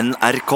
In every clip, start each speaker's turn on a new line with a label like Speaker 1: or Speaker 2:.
Speaker 1: NRK.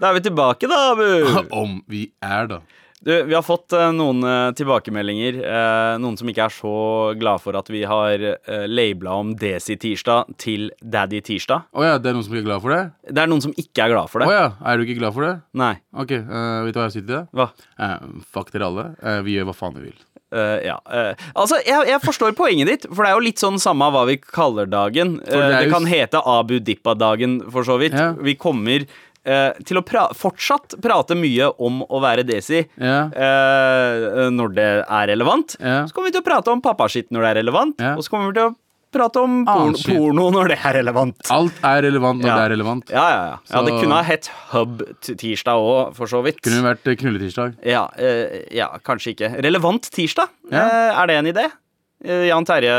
Speaker 2: Da er vi tilbake, da, Abu.
Speaker 3: Om vi er, da.
Speaker 2: Du, vi har fått eh, noen eh, tilbakemeldinger. eh, noen som ikke er så glad for at vi har uh, labela om Desi-tirsdag til Daddy-tirsdag.
Speaker 3: Å ja, det er noen som ikke er glad for det?
Speaker 2: Det er noen som ikke er glad for
Speaker 3: Å
Speaker 2: det.
Speaker 3: ja, er du ikke glad for det?
Speaker 2: Nei.
Speaker 3: Ok, eh, vet du hva jeg sier til det?
Speaker 2: Hva?
Speaker 3: Eh, fuck dere alle. Eh, vi gjør hva faen vi vil.
Speaker 2: Eh, ja. eh, altså, jeg, jeg forstår poenget ditt, for det er jo litt sånn samme hva vi kaller dagen. Eh,
Speaker 3: det
Speaker 2: det,
Speaker 3: er jo
Speaker 2: kan
Speaker 3: s-
Speaker 2: hete Abu Dippa-dagen, for så vidt.
Speaker 3: Ja.
Speaker 2: Vi kommer eh, til å pra fortsatt prate mye om å være Desi.
Speaker 3: Ja.
Speaker 2: eh, når det er relevant.
Speaker 3: Ja.
Speaker 2: Så kommer vi til å prate om pappaskitt når det er relevant.
Speaker 3: Ja.
Speaker 2: Og så kommer vi til å prate om
Speaker 3: Annen
Speaker 2: porno,
Speaker 3: shit.
Speaker 2: porno når det er relevant.
Speaker 3: Alt er relevant når
Speaker 2: Ja.
Speaker 3: det er relevant.
Speaker 2: Ja, ja, ja. ja det
Speaker 3: Ah. Så-
Speaker 2: kunne ha hett Hub-tirsdag òg, for så vidt.
Speaker 3: Kunne det vært eh, knulletirsdag?
Speaker 2: Ja, eh, ja, kanskje ikke. Relevant tirsdag,
Speaker 3: Ja.
Speaker 2: eh, er det en idé? Eh, Jan Terje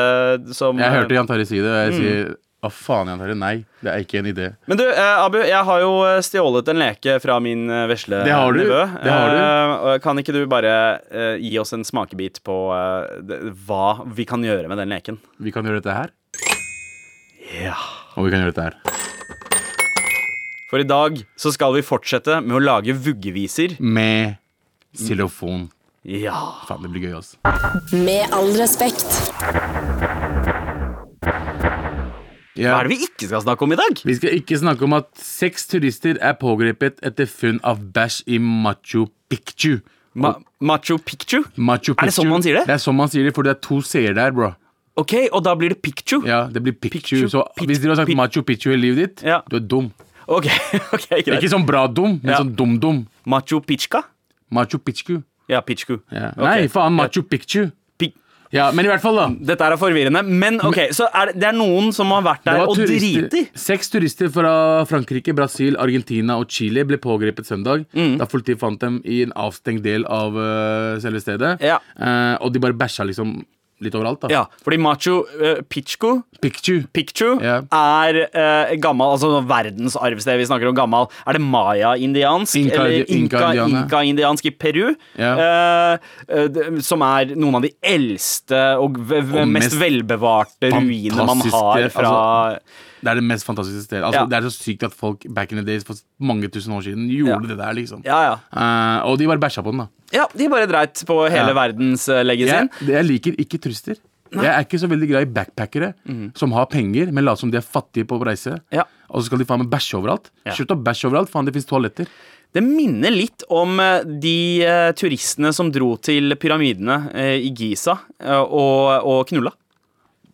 Speaker 2: som
Speaker 3: Jeg hørte
Speaker 2: eh,
Speaker 3: Jan Terje si det, og jeg sier å faen, Jan Terje, nei. Det er ikke en idé.
Speaker 2: Men du, eh, Abu, jeg har jo eh, stjålet en leke fra min eh, vesle
Speaker 3: Det har du.
Speaker 2: nevø.
Speaker 3: Det har du.
Speaker 2: Eh, og kan ikke du bare eh, gi oss en smakebit på eh, det- hva vi kan gjøre med den leken?
Speaker 3: Vi kan gjøre dette her,
Speaker 2: Ja.
Speaker 3: og vi kan gjøre dette her.
Speaker 2: For i dag så skal vi fortsette med å lage vuggeviser.
Speaker 3: Med xylofon.
Speaker 2: Ja.
Speaker 3: Faen, det blir gøy, altså.
Speaker 4: Med all respekt.
Speaker 3: Ja.
Speaker 2: Hva er det vi ikke skal snakke om i dag?
Speaker 3: Vi skal ikke snakke om at seks turister er pågrepet etter funn av bæsj i Machu Picchu.
Speaker 2: Ma Machu Picchu?
Speaker 3: Machu Picchu.
Speaker 2: Er det sånn man sier det?
Speaker 3: Det er sånn man sier det, for det er to seere der, bro.
Speaker 2: Ok, og da blir det Picchu?
Speaker 3: Ja, det blir Picchu.
Speaker 2: Picchu,
Speaker 3: Så
Speaker 2: Pit-
Speaker 3: hvis dere har sagt
Speaker 2: Pit-
Speaker 3: Machu Picchu hele livet ditt,
Speaker 2: Ja.
Speaker 3: du er dum.
Speaker 2: Ok, ok, greit.
Speaker 3: Ikke sånn bra dum, men
Speaker 2: Ja.
Speaker 3: sånn dum-dum.
Speaker 2: Machu Pichka?
Speaker 3: Machu Picchu.
Speaker 2: Ja, Pichku.
Speaker 3: Ja.
Speaker 2: Ok.
Speaker 3: Nei, faen, Machu Picchu.
Speaker 2: Pi-
Speaker 3: Ja, men i hvert fall, da.
Speaker 2: Dette er forvirrende, men ok, så er det, det er noen som har vært
Speaker 3: Det
Speaker 2: der
Speaker 3: var
Speaker 2: og
Speaker 3: turister-
Speaker 2: driter.
Speaker 3: Seks turister fra Frankrike, Brasil, Argentina og Chile ble pågrepet søndag.
Speaker 2: Mm.
Speaker 3: Da politiet fant dem i en avstengt del av øh, selve stedet.
Speaker 2: Ja.
Speaker 3: Eh, og de bare bæsja liksom litt overalt, da.
Speaker 2: Ja, fordi Machu uh, Pichku
Speaker 3: Picchu.
Speaker 2: Picchu
Speaker 3: Ja.
Speaker 2: er eh, gammel, altså verdensarvsted vi snakker om gammel. Er det maya-indiansk?
Speaker 3: Inka-
Speaker 2: eller inka-
Speaker 3: inka-indianer.
Speaker 2: inka-indiansk i Peru?
Speaker 3: Ja.
Speaker 2: eh, eh, d- som er noen av de eldste og, v v
Speaker 3: Og
Speaker 2: mest
Speaker 3: mest
Speaker 2: velbevarte ruinene man
Speaker 3: fantastiske, altså-
Speaker 2: har fra
Speaker 3: Det er det mest fantastiske stedet. Altså,
Speaker 2: Ja.
Speaker 3: Det er så sykt at folk back in the days for mange tusen år siden gjorde
Speaker 2: Ja.
Speaker 3: det der, liksom.
Speaker 2: Ja, ja.
Speaker 3: Eh, og de bare bæsja på den, da.
Speaker 2: ja, de bare dreit på hele
Speaker 3: Ja.
Speaker 2: verdens verdenslegget
Speaker 3: Jeg,
Speaker 2: sin.
Speaker 3: jeg liker ikke turister. Jeg er ikke så veldig glad i backpackere som har penger, men later som de er fattige på reise.
Speaker 2: Mhm. Ja.
Speaker 3: Og så skal de faen meg bæsje overalt.
Speaker 2: Ja.
Speaker 3: Slutt å bæsje overalt, faen, det fins toaletter.
Speaker 2: Det minner litt om eh, de eh, turistene som dro til pyramidene eh, i Giza eh, og, og knulla.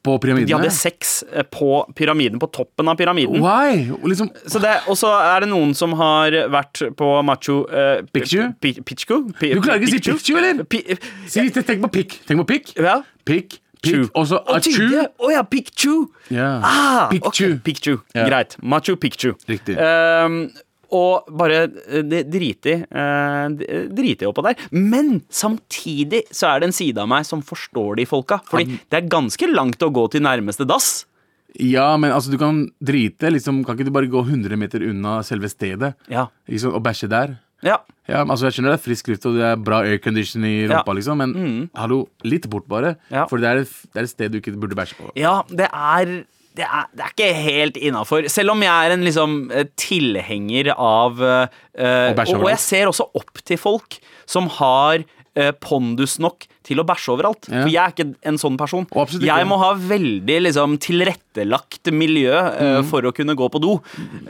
Speaker 3: På pyramidene.
Speaker 2: De hadde sex eh, på pyramiden, på toppen av pyramiden.
Speaker 3: Why? Og Liksom,
Speaker 2: Så det, og så er det noen som har vært på macho eh,
Speaker 3: Picchu?
Speaker 2: Pi, Pichku? Pi,
Speaker 3: du klarer ikke å si picchu, eller?
Speaker 2: Pi,
Speaker 3: Si, tenk på pikk. Tenk på pikk.
Speaker 2: ja.
Speaker 3: Pikk, pikk, og så
Speaker 2: Å,
Speaker 3: achu.
Speaker 2: tydelig. Å ja, Picchu!
Speaker 3: Ja.
Speaker 2: Ah,
Speaker 3: Picchu.
Speaker 2: ok, Picchu.
Speaker 3: Ja.
Speaker 2: Greit. Machu Picchu.
Speaker 3: Riktig.
Speaker 2: Ehm, og bare eh, det- driti eh, d- driti oppå der. Men samtidig så er det en side av meg som forstår de folka. Fordi det er ganske langt å gå til nærmeste dass.
Speaker 3: Ja, men altså, du kan drite. Liksom, kan ikke du bare gå 100 meter unna selve stedet
Speaker 2: Ja.
Speaker 3: ikke sant, og bæsje der?
Speaker 2: ja.
Speaker 3: Ja, men altså Jeg skjønner det er frisk luft og det er bra aircondition i rumpa,
Speaker 2: Ja. Mm.
Speaker 3: liksom, men hallo, litt bort, bare.
Speaker 2: Ja.
Speaker 3: For det er, et, det er et sted du ikke burde bæsje på.
Speaker 2: Ja, det er det er, det er ikke helt innafor. Selv om jeg er en liksom eh, tilhenger av eh, eh,
Speaker 3: Å bæsje
Speaker 2: og, og
Speaker 3: overalt.
Speaker 2: jeg ser også opp til folk som har eh, pondus nok til å bæsje overalt.
Speaker 3: Ja.
Speaker 2: For jeg er ikke en sånn person.
Speaker 3: Å, absolutt ikke.
Speaker 2: jeg må ha veldig liksom, tilrettelagt miljø
Speaker 3: Mhm.
Speaker 2: eh, for å kunne gå på do.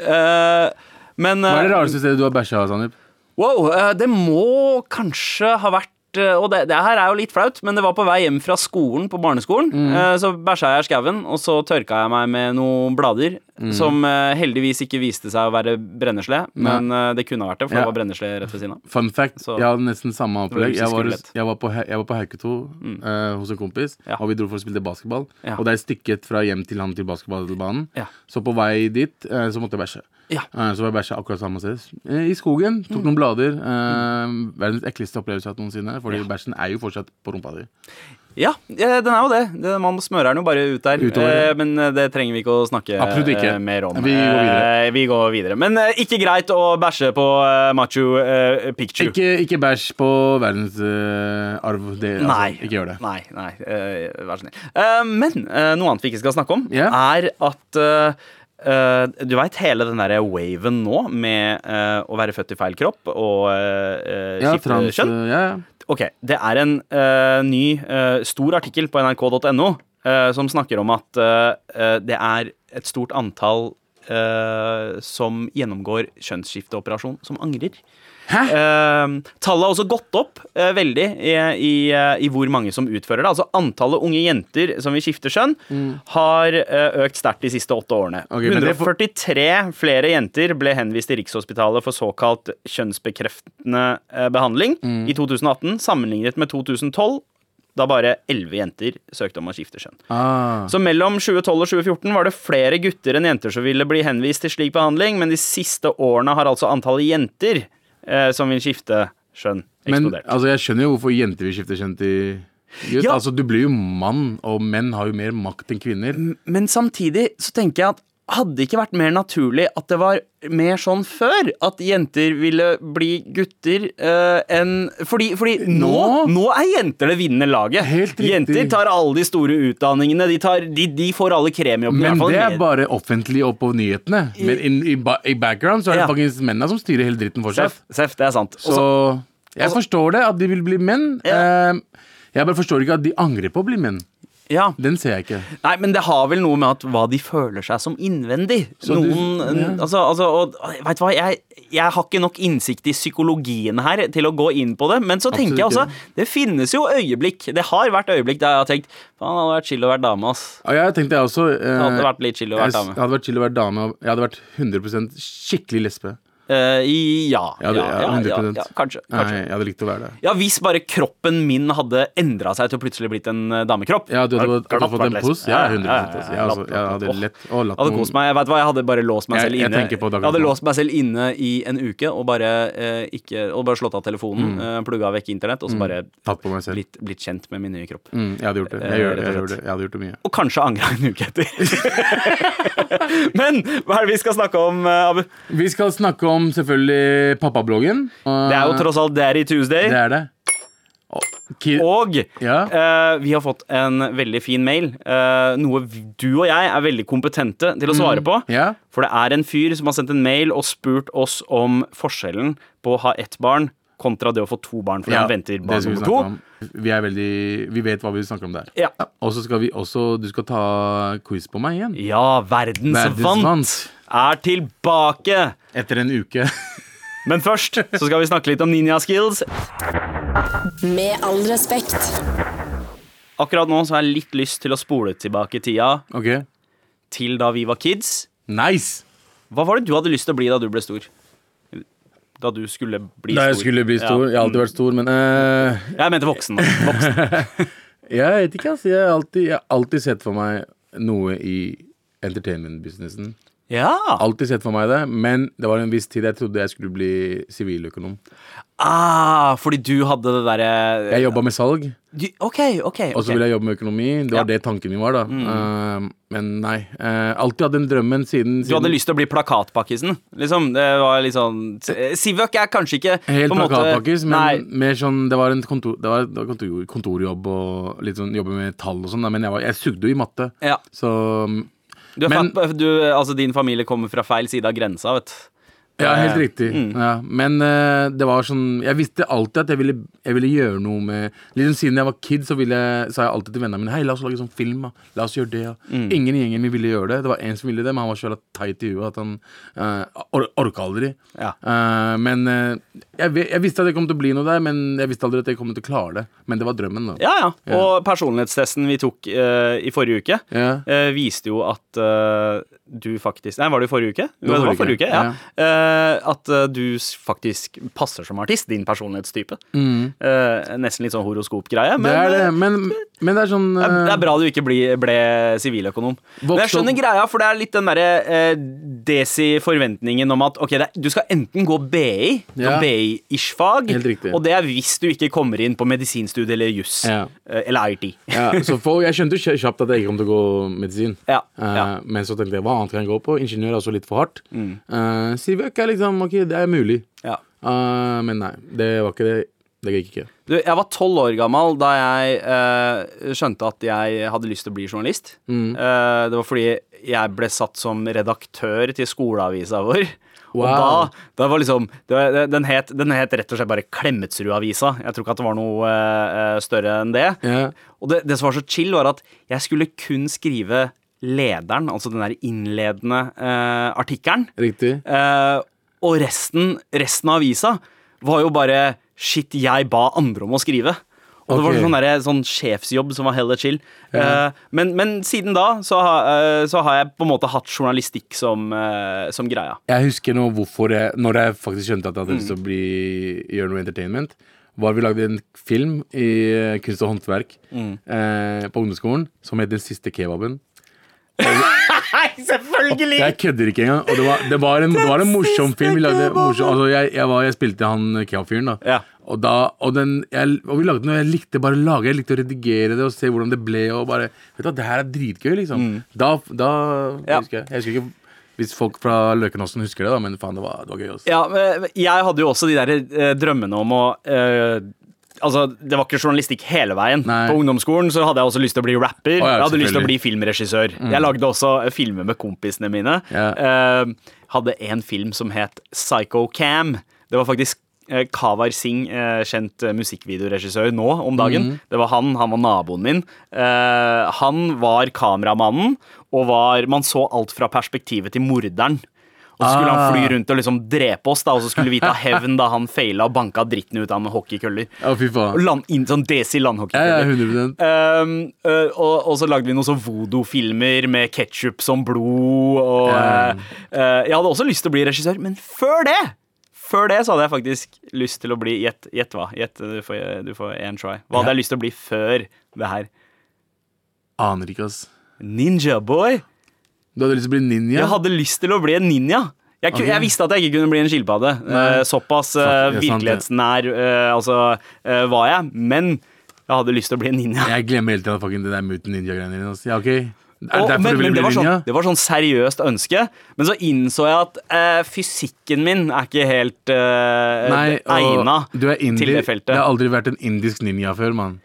Speaker 2: Eh, men
Speaker 3: Hva er det
Speaker 2: eh,
Speaker 3: rareste stedet du har bæsja, Sandeep?
Speaker 2: Wow, eh, det må kanskje ha vært eh, og det, det her er jo litt flaut, men det var på vei hjem fra skolen, på barneskolen.
Speaker 3: Mm.
Speaker 2: Eh, Så bæsja jeg i skauen, og så tørka jeg meg med noen blader.
Speaker 3: Mm.
Speaker 2: Som eh, heldigvis ikke viste seg å være brennesle, men eh, det kunne ha vært det. For
Speaker 3: Ja.
Speaker 2: det var brennesle rett ved siden av.
Speaker 3: Fun fact,
Speaker 2: Så-
Speaker 3: jeg hadde nesten samme opplegg.
Speaker 2: russisk
Speaker 3: Jeg var,
Speaker 2: rulett.
Speaker 3: jeg var på, He- jeg var på Hauketo eh, hos en kompis,
Speaker 2: Mm. Ja.
Speaker 3: og vi dro for å spille basketball.
Speaker 2: Ja.
Speaker 3: Og det er et stykke fra hjem til han til basketballbanen.
Speaker 2: Ja.
Speaker 3: Så på vei dit eh, så måtte jeg bæsje.
Speaker 2: Ja.
Speaker 3: Eh, så var jeg bæsja akkurat samme sted. Eh, I skogen. Tok
Speaker 2: Mm.
Speaker 3: noen blader. Eh, verdens ekleste opplevelse jeg har hatt noensinne. Fordi bæsjen er jo fortsatt på rumpa di.
Speaker 2: Ja, eh, den er jo det. Det- Man smører den jo bare ut der.
Speaker 3: Utover.
Speaker 2: Eh, Men eh, det trenger vi ikke å snakke
Speaker 3: Absolutt ikke.
Speaker 2: eh, mer om.
Speaker 3: Vi går videre.
Speaker 2: Eh, Vi går videre. Men eh, ikke greit å bæsje på eh, machu eh, picchu.
Speaker 3: Ikke, ikke bæsj på verdens eh, arv. Det, altså,
Speaker 2: Nei.
Speaker 3: Ikke gjør det.
Speaker 2: Nei, nei, eh, vær så snill. Eh, men eh, noe annet vi ikke skal snakke om,
Speaker 3: Ja.
Speaker 2: er at eh, eh, Du veit hele den derre waven nå med eh, å være født i feil kropp og eh, eh,
Speaker 3: Ja,
Speaker 2: skifte
Speaker 3: trans,
Speaker 2: kjønn?
Speaker 3: ja, ja.
Speaker 2: Ok, det er en eh, ny eh, stor artikkel på nrk.no eh, som snakker om at eh, eh, det er et stort antall eh, som gjennomgår kjønnsskifteoperasjon, som angrer.
Speaker 3: Hæ?
Speaker 2: Eh, tallet har også gått opp eh, veldig i, i, eh, i hvor mange som utfører det. Altså Antallet unge jenter som vil skifte kjønn, har eh, økt sterkt de siste åtte årene.
Speaker 3: Mm. Ok, men det
Speaker 2: 143
Speaker 3: får-
Speaker 2: flere jenter ble henvist til Rikshospitalet for såkalt kjønnsbekreftende eh, behandling
Speaker 3: Mm.
Speaker 2: i 2018, sammenlignet med 2012, da bare 11 jenter søkte om å skifte kjønn.
Speaker 3: Ah.
Speaker 2: Så mellom 2012 og 2014 var det flere gutter enn jenter som ville bli henvist til slik behandling, men de siste årene har altså antallet jenter eh, som vil skifte skjønn,
Speaker 3: Men
Speaker 2: eksplodert.
Speaker 3: altså, jeg skjønner jo hvorfor jenter vil skifte kjønn til gutt.
Speaker 2: Ja.
Speaker 3: Altså, du blir jo mann, og menn har jo mer makt enn kvinner.
Speaker 2: Men, samtidig så tenker jeg at hadde det ikke vært mer naturlig at det var mer sånn før? At jenter ville bli gutter eh, enn Fordi, fordi nå,
Speaker 3: Nå?
Speaker 2: nå er jenter det vinnende laget.
Speaker 3: Helt riktig.
Speaker 2: Jenter tar alle de store utdanningene. De, tar, de, de får alle kremjobber. i hvert
Speaker 3: Men
Speaker 2: fall
Speaker 3: det er
Speaker 2: med-
Speaker 3: bare offentlig og på nyhetene. Men in, i, ba, i background så er det
Speaker 2: Ja.
Speaker 3: faktisk mennene som styrer hele dritten fortsatt.
Speaker 2: Seff, seff, det er sant.
Speaker 3: Så jeg forstår det, at de vil bli menn.
Speaker 2: Altså, Ja.
Speaker 3: Eh, Jeg bare forstår ikke at de angrer på å bli menn.
Speaker 2: ja.
Speaker 3: Den ser jeg ikke.
Speaker 2: Nei, men det har vel noe med at hva de føler seg som innvendig.
Speaker 3: Så du-
Speaker 2: Noen,
Speaker 3: ja.
Speaker 2: altså, altså, og, vet du hva, jeg, jeg har ikke nok innsikt i psykologien her til å gå inn på det, men så tenker jeg
Speaker 3: Absolutt
Speaker 2: altså, det finnes jo øyeblikk. Det har vært øyeblikk der jeg har tenkt, faen, det hadde vært chill å være dame, ass.
Speaker 3: Og jeg tenkte jeg også eh,
Speaker 2: Det hadde vært litt chill å
Speaker 3: jeg
Speaker 2: være
Speaker 3: s-
Speaker 2: dame.
Speaker 3: hadde vært chill å være dame. og Jeg hadde vært 100 skikkelig lesbe.
Speaker 2: Eh, ja, ja,
Speaker 3: Ja, det-
Speaker 2: ja, ja,
Speaker 3: ja,
Speaker 2: ja,
Speaker 3: 100%.
Speaker 2: kanskje,
Speaker 3: Nei,
Speaker 2: kanskje.
Speaker 3: jeg hadde likt å være det.
Speaker 2: Ja, hvis bare kroppen min hadde endra seg til å plutselig blitt en eh, damekropp.
Speaker 3: Ja, du
Speaker 2: Hadde
Speaker 3: hadde, hadde fått
Speaker 2: vært
Speaker 3: en
Speaker 2: lesbe.
Speaker 3: pos? Ja,
Speaker 2: Ja,
Speaker 3: 100 altså.
Speaker 2: ja, ja,
Speaker 3: Jeg, altså, jeg
Speaker 2: latt-
Speaker 3: hadde
Speaker 2: latt-
Speaker 3: lett og latt
Speaker 2: Jeg hadde kost meg, jeg, vet hva, jeg hadde bare låst meg
Speaker 3: Jeg-
Speaker 2: selv
Speaker 3: jeg
Speaker 2: inne
Speaker 3: tenker på det akkurat
Speaker 2: hadde
Speaker 3: nå.
Speaker 2: låst meg selv inne i en uke og bare, eh, ikke, og bare slått av telefonen, eh,
Speaker 3: Mm.
Speaker 2: plugga vekk internett og så bare
Speaker 3: Tatt på meg selv.
Speaker 2: blitt, blitt kjent med min nye kropp.
Speaker 3: Mm, jeg hadde gjort det.
Speaker 2: Eh,
Speaker 3: Jeg, gjør,
Speaker 2: rett og slett.
Speaker 3: jeg, gjør det. jeg hadde gjort det mye.
Speaker 2: Og kanskje angra en uke etter. Men hva er det vi skal snakke om, eh, Abu?
Speaker 3: Vi skal snakke om selvfølgelig pappabloggen.
Speaker 2: Det er jo tross alt Daddy Tuesday.
Speaker 3: Eh, Det er det. Og, ki-
Speaker 2: Og
Speaker 3: ja.
Speaker 2: eh, vi har fått en veldig fin mail. eh, noe vi- du og jeg er veldig kompetente
Speaker 3: Mm.
Speaker 2: til å svare på.
Speaker 3: ja.
Speaker 2: For det er en fyr som har sendt en mail og spurt oss om forskjellen på å ha ett barn kontra det å få to barn, for
Speaker 3: Ja,
Speaker 2: han venter
Speaker 3: det
Speaker 2: barn
Speaker 3: skal vi
Speaker 2: nummer to.
Speaker 3: snakke om. Vi er veldig Vi vet hva vi snakker om der.
Speaker 2: Ja.
Speaker 3: Og så skal vi også Du skal ta quiz på meg igjen.
Speaker 2: Ja, verdens, vant
Speaker 3: Verdensvant.
Speaker 2: er tilbake!
Speaker 3: Etter en uke.
Speaker 2: Men først så skal vi snakke litt om ninja skills.
Speaker 4: Med all respekt.
Speaker 2: Akkurat nå så har jeg litt lyst til å spole tilbake tida
Speaker 3: ok.
Speaker 2: til da vi var kids.
Speaker 3: Nice!
Speaker 2: Hva var det du hadde lyst til å bli da du ble stor? Da du skulle bli
Speaker 3: Da
Speaker 2: stor.
Speaker 3: jeg skulle bli stor.
Speaker 2: Ja.
Speaker 3: Jeg har alltid vært stor, men eh,
Speaker 2: Jeg mente voksen. voksen.
Speaker 3: Jeg vet ikke, altså. Jeg har alltid, jeg har alltid sett for meg noe i entertainment-businessen.
Speaker 2: Ja.
Speaker 3: Alltid sett for meg det, men det var en viss tid jeg trodde jeg skulle bli siviløkonom.
Speaker 2: Ah, fordi du hadde det derre
Speaker 3: Jeg jobba med salg,
Speaker 2: Du- OK, OK.
Speaker 3: og
Speaker 2: ok.
Speaker 3: så ville jeg jobbe med økonomi. Det var
Speaker 2: Ja. Mm.
Speaker 3: det tanken min var, da. Eh, men nei. Uh, alltid hatt den drømmen siden,
Speaker 2: Du
Speaker 3: siden
Speaker 2: hadde lyst til å bli plakatpakkisen? Liksom, det var litt sånn Sivøk er kanskje ikke
Speaker 3: Helt
Speaker 2: på en måte-
Speaker 3: plakatpakkis, men
Speaker 2: Nei,
Speaker 3: mer sånn Det var en kontor, det var, det var kontor, kontorjobb og litt sånn jobbe med tall og sånn, da, men jeg, var, jeg sugde jo i matte.
Speaker 2: ja.
Speaker 3: Så mm,
Speaker 2: du er
Speaker 3: men-
Speaker 2: fat- du, altså, din familie kommer fra feil side av grensa, vet du.
Speaker 3: Ja, helt
Speaker 2: Eh,
Speaker 3: riktig. Ja, men eh, det var sånn Jeg visste alltid at jeg ville, jeg ville gjøre noe med liksom Siden jeg var kid, så ville, jeg- sa jeg alltid til vennene mine Hei, la oss lage sånn film. Da. La oss gjøre det. Da.
Speaker 2: Mm.
Speaker 3: Ingen i gjengen min ville gjøre det. Det var en som ville det, men han var så jævla teit i huet at han uh, or orka aldri.
Speaker 2: Ja.
Speaker 3: Eh, men eh, jeg, ve- jeg visste at jeg kom til å bli noe der, men jeg visste aldri at jeg kom til å klare det. Men det var drømmen, da.
Speaker 2: Ja, ja. Og personlighetstesten vi tok eh, i forrige uke,
Speaker 3: Ja.
Speaker 2: eh, viste jo at eh, du faktisk Nei, var det i forrige uke? Det
Speaker 3: var
Speaker 2: var,
Speaker 3: forrige
Speaker 2: forrige uke,
Speaker 3: uke,
Speaker 2: ja. Eh, at eh, du s- faktisk passer som artist. Din personlighetstype. Eh, nesten litt sånn horoskopgreie, men
Speaker 3: Mm. det er det,
Speaker 2: eh,
Speaker 3: men, men det er sånn
Speaker 2: Det er, det
Speaker 3: eh,
Speaker 2: er bra du ikke bli, ble siviløkonom. Men jeg
Speaker 3: Vokste opp-
Speaker 2: skjønner greia, for det er litt den derre eh, desi-forventningen om at ok, det, er- du skal enten gå BI,
Speaker 3: Ja.
Speaker 2: noe BI-ish fag,
Speaker 3: Helt riktig.
Speaker 2: og det er hvis du ikke kommer inn på medisinstudiet eller juss.
Speaker 3: Ja.
Speaker 2: eh, Eller IT.
Speaker 3: ja, så for, Jeg skjønte jo kj- kjapt at jeg ikke kom til å gå medisin.
Speaker 2: Ja,
Speaker 3: Eh,
Speaker 2: ja.
Speaker 3: Men så tenkte jeg hva annet kan jeg gå på? Ingeniør er også litt for hardt. Eh, Mm. Sivøk er liksom ok, det er mulig.
Speaker 2: Ja.
Speaker 3: Eh, men nei, det var ikke det Det gikk ikke.
Speaker 2: Du, jeg var tolv år gammel da jeg eh, skjønte at jeg hadde lyst til å bli journalist.
Speaker 3: Mm.
Speaker 2: Eh, det var fordi jeg ble satt som redaktør til skoleavisa vår. Og
Speaker 3: Wow.
Speaker 2: da, da var liksom det var, den, het, den het rett og slett bare Klemetsrudavisa. Jeg tror ikke at det var noe eh, eh, større enn det.
Speaker 3: Ja.
Speaker 2: Og det, det som var så chill, var at jeg skulle kun skrive lederen, altså den der innledende eh, artikkelen.
Speaker 3: Riktig.
Speaker 2: Eh, og resten, resten av avisa var jo bare shit jeg ba andre om å skrive. Og det var
Speaker 3: Ok.
Speaker 2: sånn, derre- sånn sjefsjobb som var heller chill. Eh, men, men siden da så, har- eh, så har jeg på en måte hatt journalistikk som, eh, som greia.
Speaker 3: Jeg husker nå hvorfor jeg, når jeg faktisk skjønte at jeg hadde lyst til å bli, gjøre noe entertainment, var vi lagde en film i eh, kunst og håndverk
Speaker 2: Mm.
Speaker 3: eh, på ungdomsskolen som het Den siste kebaben.
Speaker 2: Nei, selvfølgelig!
Speaker 3: Jeg kødder ikke engang. Og det var, det var, en, det var en morsom
Speaker 2: siste
Speaker 3: film. Vi lagde
Speaker 2: kebaben.
Speaker 3: morsom, altså jeg, jeg, var, jeg spilte han kebabfyren, da.
Speaker 2: Ja.
Speaker 3: Og, da, og, den, jeg, og vi lagde den, og jeg likte bare å lage, jeg likte å redigere det og se hvordan det ble. Og bare, vet du hva, det her er dritgøy, liksom. Da, da
Speaker 2: Mm. Ja.
Speaker 3: husker jeg, jeg husker ikke hvis folk fra Løkenåsen husker det, da, men faen, det var, det var gøy. altså. Også.
Speaker 2: Ja, men jeg hadde jo også de der eh, drømmene om å eh, Altså, Det var ikke journalistikk hele veien.
Speaker 3: Nei.
Speaker 2: På ungdomsskolen så hadde jeg også lyst til å bli rapper.
Speaker 3: ja,
Speaker 2: jeg hadde lyst til å
Speaker 3: selvfølgelig. Mm.
Speaker 2: bli filmregissør. Jeg lagde også eh, filmer med kompisene mine.
Speaker 3: Ja.
Speaker 2: Eh, hadde en film som het Psycho Cam. Det var faktisk eh, Kavar Singh, eh, kjent eh, musikkvideoregissør nå om dagen.
Speaker 3: Mm.
Speaker 2: Det var han. Han var naboen min. Eh, han var kameramannen, og var Man så alt fra perspektivet til morderen. Og så skulle han
Speaker 3: Ah.
Speaker 2: fly rundt og liksom drepe oss, da, og så skulle vi ta hevn da han feila og banka dritten ut av med hockeykøller.
Speaker 3: Å, fy
Speaker 2: Og
Speaker 3: faen.
Speaker 2: Land, inn, sånn desi
Speaker 3: Ja, ja,
Speaker 2: landhockeykøller.
Speaker 3: 100
Speaker 2: Ehm, øh, og, og så lagde vi noen sånn voodoo-filmer med ketsjup som blod. Og,
Speaker 3: Ja.
Speaker 2: eh, eh, jeg hadde også lyst til å bli regissør, men før det Før det så hadde jeg faktisk lyst til å bli Gjett gjett hva? Gjett, du får- du får én try. Hva hadde jeg lyst til å bli før det her?
Speaker 3: Aner ikke, ass.
Speaker 2: Ninja boy?
Speaker 3: Du hadde lyst til å bli ninja?
Speaker 2: Jeg hadde lyst til å bli en ninja. Jeg, ku-
Speaker 3: Ok.
Speaker 2: jeg visste at jeg ikke kunne bli en skilpadde.
Speaker 3: Nei.
Speaker 2: Eh, Såpass eh,
Speaker 3: Sant, det er sant, det.
Speaker 2: virkelighetsnær eh, altså, eh, var jeg. Men jeg hadde lyst til å bli en ninja.
Speaker 3: Jeg glemmer hele tiden fucking det der Mutant Ninja-greiene dine. ass. Ja, ok. Er
Speaker 2: Og-
Speaker 3: det derfor
Speaker 2: men,
Speaker 3: du ville
Speaker 2: men det,
Speaker 3: bli
Speaker 2: var
Speaker 3: ninja?
Speaker 2: sånn, det var sånn seriøst ønske. Men så innså jeg at eh, fysikken min er ikke helt eh,
Speaker 3: Nei, og
Speaker 2: egna
Speaker 3: du er
Speaker 2: til
Speaker 3: indier.
Speaker 2: det
Speaker 3: Det
Speaker 2: feltet.
Speaker 3: har aldri vært en indisk ninja før, mann.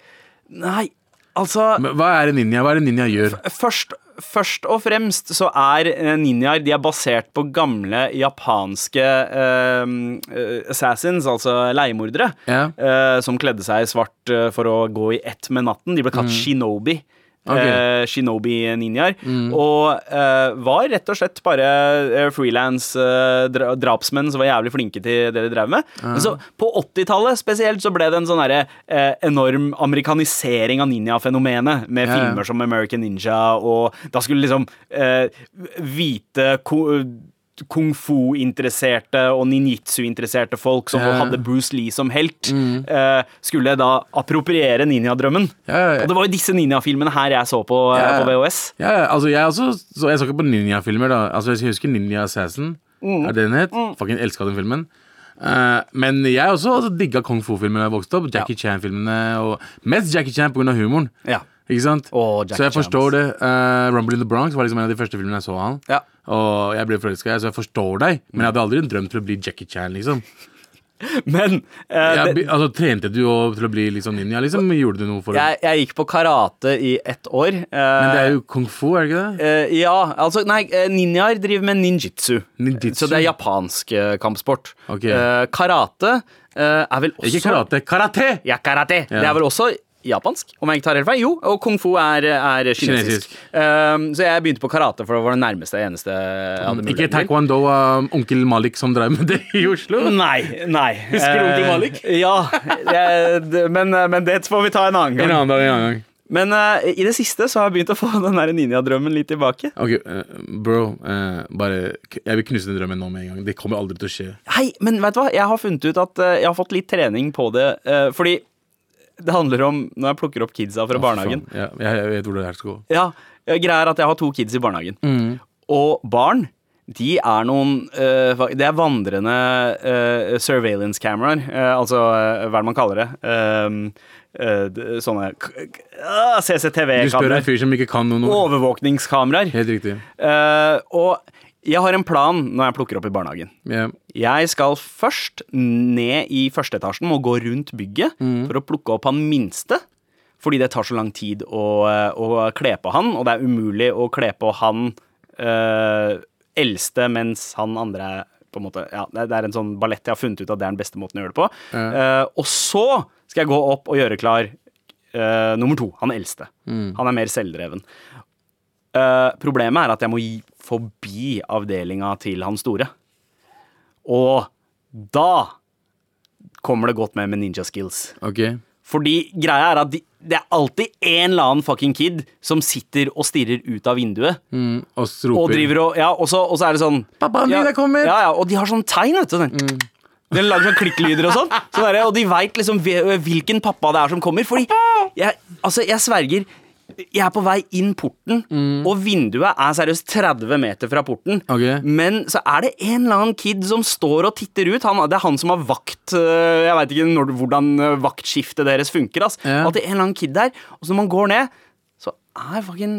Speaker 2: Nei, altså
Speaker 3: Men Hva er en ninja? Hva er det en ninja gjør?
Speaker 2: først, først og fremst så er eh, ninjaer De er basert på gamle japanske eh, eh, assassins, altså leiemordere,
Speaker 3: Ja.
Speaker 2: eh, som kledde seg i svart eh, for å gå i ett med natten. De ble kalt shinobi.
Speaker 3: Mm. Ok.
Speaker 2: Eh, Shinobi-ninjaer.
Speaker 3: Mm.
Speaker 2: Og eh, var rett og slett bare eh, frilans eh, dra drapsmenn som var jævlig flinke til det de drev med. Men så på 80-tallet spesielt så ble det en sånn herre eh, enorm amerikanisering av ninja-fenomenet. Med
Speaker 3: Ja, ja.
Speaker 2: filmer som American Ninja, og da skulle liksom eh, hvite ko Kung fu-interesserte og ninjitsu-interesserte folk som
Speaker 3: Ja. Mm.
Speaker 2: hadde Bruce Lee som helt, eh, skulle da appropriere ninjadrømmen.
Speaker 3: Ja, ja, ja.
Speaker 2: Og det var jo disse ninjafilmene her jeg så på, eh,
Speaker 3: Ja, ja.
Speaker 2: på VHS.
Speaker 3: Ja, ja, altså jeg, også, så jeg så ikke på ninjafilmer, da. Altså Jeg husker Ninja Assassin.
Speaker 2: Mm.
Speaker 3: Er det den het? Fucking elska den filmen. Eh, men jeg også altså, digga kung fu-filmer da jeg vokste opp. Jackie Chan-filmene. og Mest Jackie Chan pga. humoren.
Speaker 2: Ja.
Speaker 3: Ikke sant?
Speaker 2: Åh, Jackie
Speaker 3: så jeg
Speaker 2: Chan,
Speaker 3: forstår
Speaker 2: ass.
Speaker 3: det. Eh, Rumble in the Bronx var liksom en av de første filmene jeg så av han.
Speaker 2: Ja.
Speaker 3: Og jeg ble forelska, så jeg forstår deg. Men jeg hadde aldri drømt til å bli Jackie Chan, liksom.
Speaker 2: Men eh,
Speaker 3: Jeg,
Speaker 2: det,
Speaker 3: be- altså, trente du og, til å bli liksom ninja, liksom? Gjorde du noe for det?
Speaker 2: jeg, jeg gikk på karate i ett år. eh,
Speaker 3: Men det er jo kung fu, er det ikke det?
Speaker 2: eh, ja, altså Nei, eh, ninjaer driver med ninjitsu.
Speaker 3: Ninjitsu?
Speaker 2: Så det er japansk eh, kampsport.
Speaker 3: Ok.
Speaker 2: Eh, karate eh, er vel også
Speaker 3: Ikke karate. Karate!
Speaker 2: Ja, karate. Det er vel også japansk, om jeg ikke tar helt feil. Jo, og kung fu er, er kinesisk.
Speaker 3: Kinesisk.
Speaker 2: Eh, så jeg begynte på karate, for det var det nærmeste eneste jeg hadde
Speaker 3: Ikke
Speaker 2: muligheten til.
Speaker 3: taekwondo av onkel Malik som drev med det i Oslo?
Speaker 2: Nei, nei.
Speaker 3: Husker du onkel
Speaker 2: Eh,
Speaker 3: Malik?
Speaker 2: ja, jeg, d- men, eh, men det får vi ta en annen
Speaker 3: En
Speaker 2: gang.
Speaker 3: annen dag, en annen gang.
Speaker 2: Men eh, i det siste så har jeg begynt å få den der ninjadrømmen litt tilbake.
Speaker 3: Ok, eh, bro. eh, bare k- Jeg vil knuse den drømmen nå med en gang. Det kommer aldri til å skje.
Speaker 2: Hei, men vet du hva? Jeg har funnet ut at eh, jeg har fått litt trening på det, eh, fordi det handler om når jeg plukker opp kidsa fra barnehagen.
Speaker 3: Faen, Ja, jeg, jeg vet hvor det her skal gå.
Speaker 2: Ja, greia er at jeg har to kids i barnehagen.
Speaker 3: Mm.
Speaker 2: Og barn, de er noen eh, fa- Det er vandrende eh, surveillance-kameraer. eh, altså eh, hva er det man kaller det? Eh, eh, d- sånne k- k- ah,
Speaker 3: Du spør en
Speaker 2: CCTV-kameraer.
Speaker 3: fyr som ikke kan noe. nå.
Speaker 2: Overvåkningskameraer.
Speaker 3: Helt riktig.
Speaker 2: Eh, og Jeg har en plan når jeg plukker opp i barnehagen.
Speaker 3: Ja.
Speaker 2: Jeg skal først ned i første etasjen og gå rundt bygget for å plukke opp han minste. Fordi det tar så lang tid å, å kle på han, og det er umulig å kle på han eh, eldste mens han andre er på en måte, ja, Det det er en sånn ballett jeg har funnet ut at det er den beste måten å gjøre det på. Eh, og så skal jeg gå opp og gjøre klar eh, nummer to, han eldste. Han er mer selvdreven. Eh, problemet er at jeg må gi forbi avdelinga til han store. Og da kommer det godt med med ninja skills.
Speaker 3: Ok.
Speaker 2: Fordi greia er at de, det er alltid en eller annen fucking kid som sitter og stirrer ut av vinduet.
Speaker 3: Mm, og så
Speaker 2: Og
Speaker 3: roper
Speaker 2: driver og Ja, og så, og så er det sånn
Speaker 3: Pappaen din
Speaker 2: ja,
Speaker 3: er kommet! Mm.
Speaker 2: Ja, ja, og de har sånn tegn, vet du. Sånn. De lager sånn klikklyder og sånn. Så der, og de veit liksom hve- hvilken pappa det er som kommer. Fordi jeg, altså, jeg sverger jeg er på vei inn porten, og vinduet er seriøst 30 meter fra porten.
Speaker 3: Mm. Ok.
Speaker 2: Men så er det en eller annen kid som står og titter ut. Han, det er han som har vakt øh, Jeg veit ikke når, hvordan øh, vaktskiftet deres funker. Ass.
Speaker 3: Ja.
Speaker 2: At det er en eller annen kid der. Og så når man går ned, så er fucking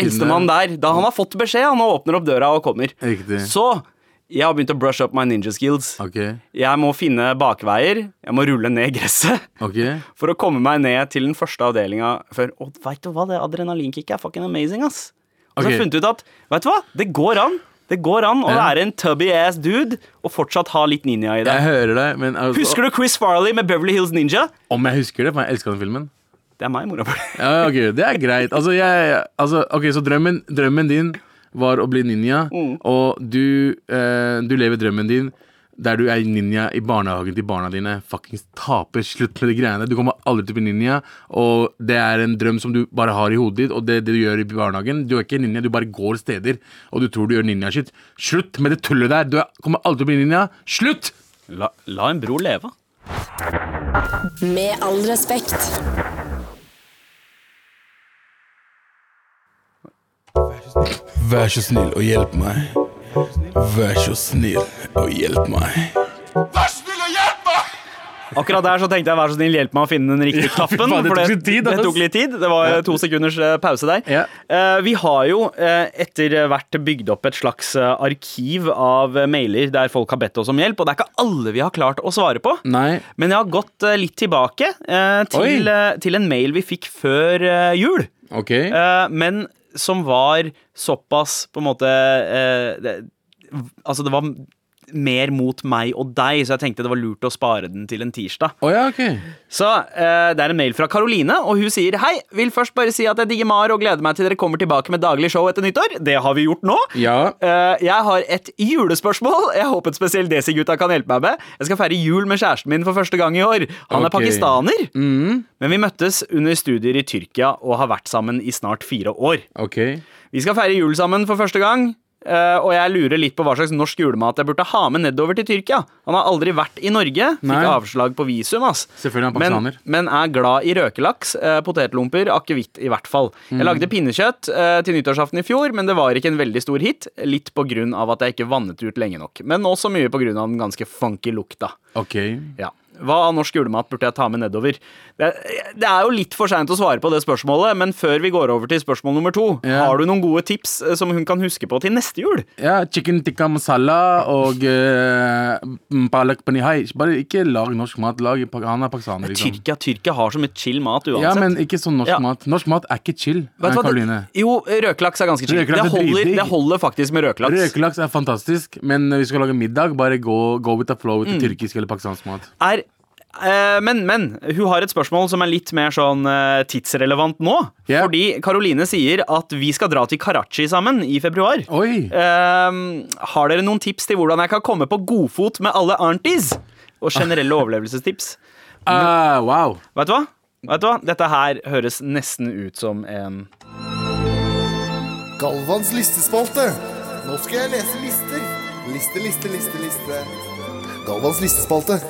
Speaker 2: eldstemann
Speaker 3: Kiden
Speaker 2: der. Da han har fått beskjed, han åpner opp døra og kommer.
Speaker 3: Riktig.
Speaker 2: Så jeg har begynt å brush up my ninja skills.
Speaker 3: Ok.
Speaker 2: Jeg må finne bakveier. Jeg må rulle ned gresset.
Speaker 3: Ok.
Speaker 2: For å komme meg ned til den første avdelinga før Å, veit du hva, det adrenalinkicket er fucking amazing, ass. Og så har jeg
Speaker 3: Ok.
Speaker 2: funnet ut at Vet du hva, det går an. Det går an å
Speaker 3: Ja.
Speaker 2: være en tubby ass dude og fortsatt ha litt ninja i
Speaker 3: Jeg
Speaker 2: deg.
Speaker 3: hører deg, men altså,
Speaker 2: Husker du Chris Farley med Beverly Hills Ninja?
Speaker 3: om jeg husker det, for jeg elsker den filmen.
Speaker 2: Det er meg, mora.
Speaker 3: Ja, ok, Det er greit. Altså, jeg, altså, ok, Så drømmen, drømmen din var å bli ninja, og du, eh, du lever drømmen din der du er ninja i barnehagen til barna dine. Fuckings taper. Slutt med de greiene. Du kommer aldri til å bli ninja, og det er en drøm som du bare har i hodet ditt, og det, det du gjør i barnehagen Du er ikke ninja, du bare går steder, og du tror du gjør ninja-shit. Slutt med det tullet der! Du er, kommer aldri til å bli ninja. Slutt!
Speaker 2: La, la en bror leve.
Speaker 4: Med all respekt.
Speaker 1: Vær så snill og hjelp meg. Vær så snill og hjelp meg.
Speaker 2: Akkurat der så tenkte jeg vær så snill hjelp meg å finne den riktige knappen.
Speaker 3: faen, det
Speaker 2: for
Speaker 3: tok litt tid,
Speaker 2: det
Speaker 3: ass.
Speaker 2: tok litt tid. Det var to sekunders eh, pause der.
Speaker 3: Ja.
Speaker 2: Eh, Vi har jo eh, etter hvert bygd opp et slags eh, arkiv av eh, mailer der folk har bedt oss om hjelp, og det er ikke alle vi har klart å svare på.
Speaker 3: Nei.
Speaker 2: Men jeg har gått eh, litt tilbake eh, til,
Speaker 3: Oi.
Speaker 2: eh, til en mail vi fikk før eh, jul.
Speaker 3: Ok.
Speaker 2: Eh, men som var såpass på en måte eh, det, Altså, det var mer mot meg og deg, så jeg tenkte det var lurt å spare den til en tirsdag.
Speaker 3: Å ja, ok.
Speaker 2: Så eh, det er en mail fra Karoline, og hun sier Hei, vil først bare si at jeg digger MAR og gleder meg til dere kommer tilbake med daglig show etter nyttår. Det har vi gjort nå.
Speaker 3: Ja.
Speaker 2: Eh, jeg har et julespørsmål. Jeg håper spesielt Desi-gutta kan hjelpe meg med. Jeg skal feire jul med kjæresten min for første gang i år. Han er
Speaker 3: Ok. Mm.
Speaker 2: pakistaner. Men vi møttes under studier i Tyrkia og har vært sammen i snart fire år.
Speaker 3: Ok.
Speaker 2: Vi skal feire jul sammen for første gang. eh, og jeg lurer litt på hva slags norsk julemat jeg burde ha med nedover til Tyrkia. Han har aldri vært i Norge. Fikk
Speaker 3: Nei.
Speaker 2: avslag på visum, ass.
Speaker 3: Selvfølgelig er han
Speaker 2: men,
Speaker 3: pakistaner.
Speaker 2: men er glad i røkelaks, eh, potetlomper, akevitt i hvert fall.
Speaker 3: Mm.
Speaker 2: Jeg lagde pinnekjøtt eh, til nyttårsaften i fjor, men det var ikke en veldig stor hit. Litt på grunn av at jeg ikke vannet ut lenge nok. Men også mye på grunn av den ganske funky lukta.
Speaker 3: Ok.
Speaker 2: Ja. Hva av norsk julemat burde jeg ta med nedover? Det, det er jo litt for seint å svare på det spørsmålet, men før vi går over til spørsmål nummer to,
Speaker 3: Ja.
Speaker 2: har du noen gode tips eh, som hun kan huske på til neste jul?
Speaker 3: Ja, chicken tikka masala og uh, palak panihai. Bare ikke lag norsk mat. Lag, han er pakistaner, liksom.
Speaker 2: Tyrkia Tyrkia har så mye chill mat uansett.
Speaker 3: Ja, men ikke sånn norsk
Speaker 2: Ja.
Speaker 3: mat. Norsk mat er ikke chill. eh,
Speaker 2: Vet du hva, det-
Speaker 3: Karoline.
Speaker 2: Jo, røkelaks er ganske chill.
Speaker 3: Røkelaks
Speaker 2: det,
Speaker 3: er
Speaker 2: holder,
Speaker 3: dritdigg.
Speaker 2: det holder faktisk med røkelaks.
Speaker 3: Røkelaks er fantastisk, men når vi skal lage middag, bare gå, go with the flow til
Speaker 2: Mm.
Speaker 3: tyrkisk eller pakistansk mat.
Speaker 2: Er, eh, men, men hun har et spørsmål som er litt mer sånn eh, tidsrelevant nå.
Speaker 3: Ja.
Speaker 2: Fordi Karoline sier at vi skal dra til Karachi sammen i februar.
Speaker 3: Oi!
Speaker 2: Ehm, har dere noen tips til hvordan jeg kan komme på godfot med alle aunties? Og generelle overlevelsestips.
Speaker 3: Ah, wow.
Speaker 2: Vet du hva? Vet du hva? Dette her høres nesten ut som en
Speaker 5: Galvans listespalte. Nå skal jeg lese lister. Liste, liste, liste, liste. Galvans listespalte.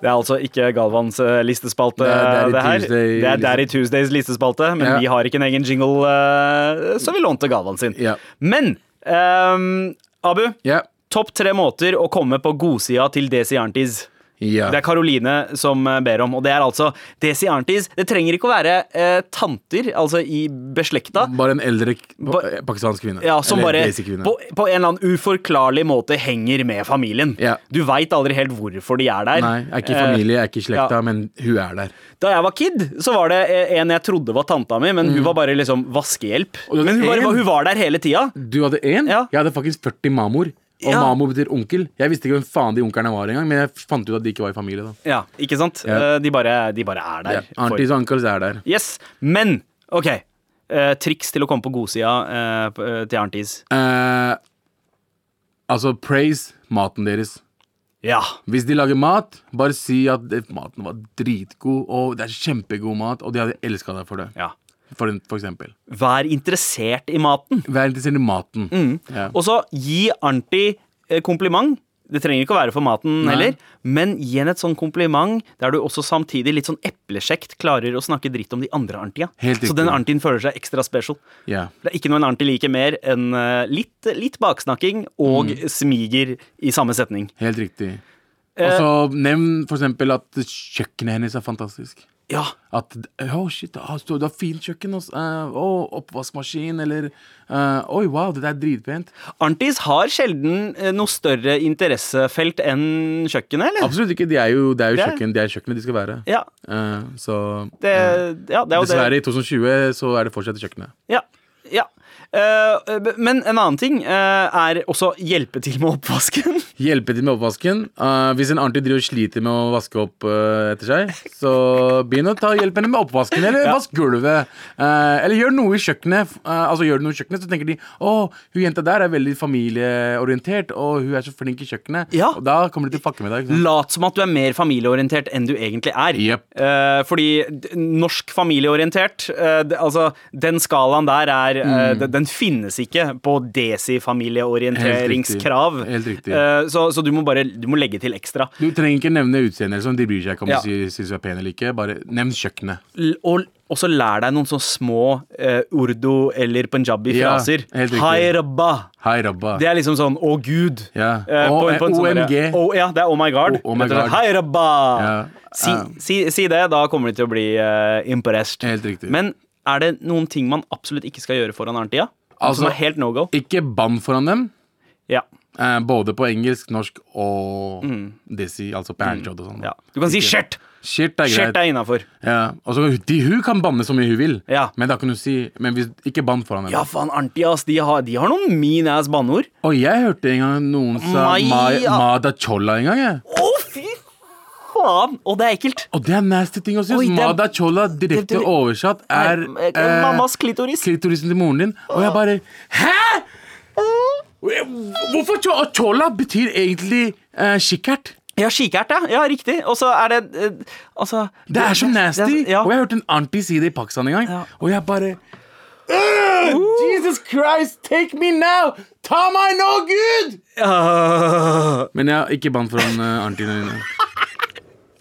Speaker 2: Det er altså ikke Galvans eh, listespalte,
Speaker 3: Det er Daddy
Speaker 2: det her.
Speaker 3: Tuesday- liksom.
Speaker 2: det er Daddy Tuesdays listespalte, men
Speaker 3: Ja.
Speaker 2: vi har ikke en egen jingle, eh, så vi lånte Galvan sin.
Speaker 3: Ja.
Speaker 2: Men ehm, Abu,
Speaker 3: Ja.
Speaker 2: topp tre måter å komme på godsida til Desi Aunties.
Speaker 3: Ja.
Speaker 2: Det er Karoline som eh, ber om, og det er altså Desi Arntis. Det trenger ikke å være eh, tanter, altså i beslekta.
Speaker 3: Bare en eldre k-
Speaker 2: Ba-
Speaker 3: eh, pakistansk kvinne.
Speaker 2: Ja, som
Speaker 3: Eller
Speaker 2: bare
Speaker 3: desi-kvinne.
Speaker 2: på, på en eller annen uforklarlig måte henger med familien.
Speaker 3: Ja.
Speaker 2: Du veit aldri helt hvorfor de er der.
Speaker 3: Nei, jeg er ikke i
Speaker 2: Eh,
Speaker 3: familie, jeg er ikke i slekta,
Speaker 2: ja.
Speaker 3: men hun er der.
Speaker 2: Da jeg var kid, så var det eh, en jeg trodde var tanta mi, men hun var bare liksom vaskehjelp.
Speaker 3: Mhm. Og det var
Speaker 2: Men hun, bare,
Speaker 3: en-
Speaker 2: hun var der hele tida.
Speaker 3: Du hadde én?
Speaker 2: Ja.
Speaker 3: Jeg hadde faktisk 40 mamor. Og
Speaker 2: Ja.
Speaker 3: mamor betyr onkel. Jeg visste ikke hvem faen de onkerne var engang, men jeg fant ut at de ikke var i familie. da
Speaker 2: Ja, ikke sant?
Speaker 3: Ja.
Speaker 2: Eh, De, bare, de bare er der.
Speaker 3: ja.
Speaker 2: for-
Speaker 3: Aunties og uncles er der.
Speaker 2: Yes, Men OK. eh, triks til å komme på godsida eh, p- eh, til Arntis.
Speaker 3: Eh, altså, praise maten deres.
Speaker 2: Ja.
Speaker 3: Hvis de lager mat, bare si at det- maten var dritgod, og det er kjempegod mat, og de hadde elska deg for det.
Speaker 2: ja.
Speaker 3: For, en- for eksempel.
Speaker 2: Vær interessert i maten.
Speaker 3: Vær interessert i maten. Ja.
Speaker 2: Mm. Og så gi Arnti eh, kompliment. Det trenger ikke å være for maten
Speaker 3: Nei.
Speaker 2: heller, men gi henne et sånn kompliment der du også samtidig litt sånn eplesjekt klarer å snakke dritt om de andre Arntia.
Speaker 3: Helt riktig.
Speaker 2: Så den Arntien føler seg ekstra special.
Speaker 3: ja.
Speaker 2: Det er ikke noe en Arnti liker mer enn eh, litt, litt baksnakking og
Speaker 3: Mm.
Speaker 2: smiger i samme setning.
Speaker 3: Helt riktig.
Speaker 2: Eh.
Speaker 3: Og så nevn for eksempel at kjøkkenet hennes er fantastisk.
Speaker 2: Ja,
Speaker 3: At Å, shit, ah, så du har fint kjøkken. ass. Eh, Å, oppvaskmaskin, eller eh, Oi, wow, det der er dritpent.
Speaker 2: Arntis har sjelden eh, noe større interessefelt enn kjøkkenet, eller?
Speaker 3: Absolutt ikke. De er jo, det er jo
Speaker 2: Det er-
Speaker 3: kjøkken, de er kjøkkenet de skal være.
Speaker 2: Ja,
Speaker 3: Eh, så eh,
Speaker 2: det, ja, det er jo det.
Speaker 3: Mm. Dessverre, i 2020 så er det fortsatt kjøkkenet.
Speaker 2: Ja, ja. Eh, b- men en annen ting eh, er også hjelpe til med oppvasken.
Speaker 3: Hjelpe til med oppvasken. Eh, hvis en Arnti driver og sliter med å vaske opp eh, etter seg, så begynn å ta hjelp henne med oppvasken, eller vask gulvet. Eh, eller gjør noe i kjøkkenet. Eh, altså Gjør du noe i kjøkkenet, så tenker de å, hun jenta der er veldig familieorientert, og hun er så flink i kjøkkenet.
Speaker 2: Ja.
Speaker 3: Og da kommer de til å fucke med deg. ikke sant?
Speaker 2: Lat som at du er mer familieorientert enn du egentlig er.
Speaker 3: Jep.
Speaker 2: Eh, fordi d- norsk familieorientert, eh, d- altså den skalaen der er
Speaker 3: Mm.
Speaker 2: eh, d- Den finnes ikke på desi-familieorienteringskrav.
Speaker 3: Helt riktig. Helt riktig.
Speaker 2: Eh, så, så du må bare du må legge til ekstra.
Speaker 3: Du trenger ikke nevne utseendet, eller sånn. de bryr seg ikke om
Speaker 2: Ja.
Speaker 3: du sier- syns du er pen eller ikke. Bare nevn kjøkkenet.
Speaker 2: L- og og så lær deg noen sånne små eh, urdu- eller
Speaker 3: Ja,
Speaker 2: punjabi-fraser.
Speaker 3: helt riktig.
Speaker 2: Hai rabba.
Speaker 3: Hei, rabba.
Speaker 2: Det er liksom sånn 'Å, Gud'.
Speaker 3: Ja.
Speaker 2: Eh, på en- på en sånn
Speaker 3: OMG.
Speaker 2: derre- Å, ja, det er 'Oh my God'.
Speaker 3: Oh, oh my
Speaker 2: Rett og slett,
Speaker 3: God.
Speaker 2: Hei, rabba!
Speaker 3: Ja.
Speaker 2: Si,
Speaker 3: Ja.
Speaker 2: si, si det, da kommer de til å bli eh, impressed.
Speaker 3: Helt riktig.
Speaker 2: Men er det noen ting man absolutt ikke skal gjøre foran Arntia?
Speaker 3: Altså-
Speaker 2: som er helt no go?
Speaker 3: Ikke bann foran dem.
Speaker 2: Ja.
Speaker 3: eh, både på engelsk, norsk og desi, altså banjod og sånn.
Speaker 2: Mm. ja. Du kan si 'shirt'.
Speaker 3: Shit er
Speaker 2: Shirt
Speaker 3: greit.
Speaker 2: er innafor.
Speaker 3: Ja, og så, de, hun kan banne så mye hun vil,
Speaker 2: Ja.
Speaker 3: men da kan du si Men hvis, ikke bann foran henne.
Speaker 2: Ja, faen, Arntia, ass. De har, de har noen mean ass banneord.
Speaker 3: Og jeg hørte en gang noen sa
Speaker 2: Maja.
Speaker 3: Maya. Mada Cholla en gang, jeg.
Speaker 2: Å, fy faen! Å, det er ekkelt.
Speaker 3: Og det er nasty ting å si.
Speaker 2: Oi,
Speaker 3: ass.
Speaker 2: det er-
Speaker 3: Mada Cholla direkte
Speaker 2: det- det-
Speaker 3: oversatt er
Speaker 2: Nei, eh,
Speaker 3: eh,
Speaker 2: mammas klitoris.
Speaker 3: klitorisen til moren din. Og jeg bare Hæ?! Hvorfor cho- og Cholla betyr egentlig eh, kikkert?
Speaker 2: Ja, kikert, ja. ja riktig. Og så er det eh, Altså
Speaker 3: Det er så nasty.
Speaker 2: det er- ja.
Speaker 3: Og jeg hørte en auntie si det i Pakistan en gang.
Speaker 2: Ja. Uh!
Speaker 3: Og jeg bare «Øh, Jesus Christ, take me now! Ta meg nå, Gud!
Speaker 2: Ja.
Speaker 3: Men ja, ikke bann foran uh, auntiene dine.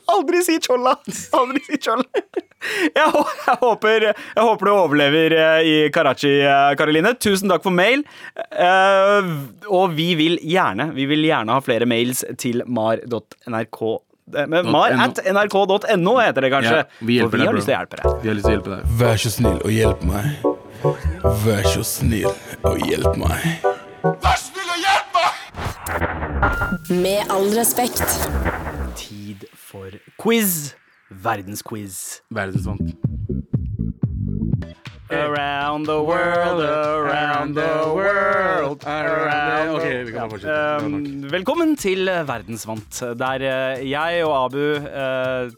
Speaker 2: Aldri si cholla! Aldri si cholla. Jeg, hå- jeg, håper, jeg håper du overlever eh, i Karachi, eh, Karoline. Tusen takk for mail. Eh, og vi vil gjerne vi vil gjerne ha flere mails til mar.nrk. eh, men Mar
Speaker 3: .no.
Speaker 2: at nrk.no heter det kanskje.
Speaker 3: Ja, vi hjelper
Speaker 2: for vi
Speaker 3: deg,
Speaker 2: har
Speaker 3: bro.
Speaker 2: lyst til å hjelpe deg.
Speaker 3: Vi har lyst til å hjelpe deg.
Speaker 1: Vær så snill og hjelp meg. Vær så snill og hjelp meg.
Speaker 4: Med all respekt.
Speaker 2: Tid for quiz. Verdensquiz.
Speaker 3: Verdensvant.
Speaker 2: Around the world, around the world, around the
Speaker 3: Ok, vi kan bare fortsette. Det var nok.
Speaker 2: Um, Velkommen til Verdensvant, der eh, jeg og Abu eh,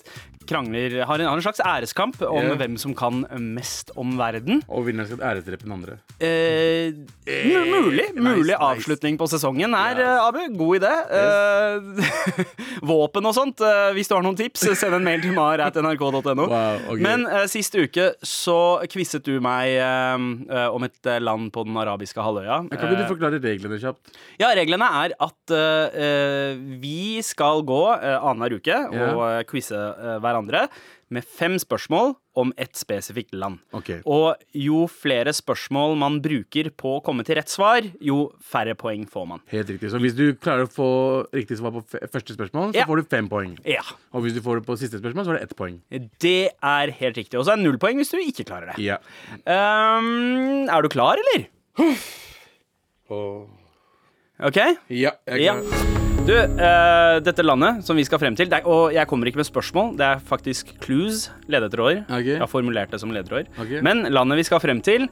Speaker 2: krangler har en, har en slags æreskamp om
Speaker 3: Ja.
Speaker 2: hvem som kan mest om verden.
Speaker 3: Og vinneren skal æresdrepe den andre.
Speaker 2: Eh, mu- mulig mulig
Speaker 3: nice, nice.
Speaker 2: avslutning på sesongen her,
Speaker 3: Yes.
Speaker 2: eh, Abu. God idé. Eh, våpen og sånt. eh, hvis du har noen tips, send en mail til mar.nrk.no.
Speaker 3: Wow, ok.
Speaker 2: Men eh, sist uke så quizet du meg eh, eh, om et eh, land på den arabiske halvøya.
Speaker 3: Kan ikke
Speaker 2: Eh,
Speaker 3: du forklare reglene kjapt?
Speaker 2: ja, reglene er at eh, eh, vi skal gå uh, annenhver uke
Speaker 3: Ja.
Speaker 2: og eh, quize eh, hverandre med fem spørsmål om ett spesifikt land.
Speaker 3: Ok.
Speaker 2: Og jo flere spørsmål man bruker på å komme til rett svar, jo færre poeng får man.
Speaker 3: Helt riktig. Så hvis du klarer å få riktig svar på f første spørsmål, så
Speaker 2: Ja.
Speaker 3: får du fem poeng.
Speaker 2: Ja,
Speaker 3: Og hvis du får det på siste spørsmål, så er det ett poeng.
Speaker 2: det er helt riktig. Og så er det null poeng hvis du ikke klarer det.
Speaker 3: Ja.
Speaker 2: Ehm, er du klar, eller? OK.
Speaker 3: Ja, jeg
Speaker 2: Ja.
Speaker 3: kan-
Speaker 2: Du, eh, dette landet som vi skal frem til det er, Og jeg kommer ikke med spørsmål, det er faktisk clues, ledetråder.
Speaker 3: Ok.
Speaker 2: Jeg har formulert det som ledetråder.
Speaker 3: Ok.
Speaker 2: Men landet vi skal frem til,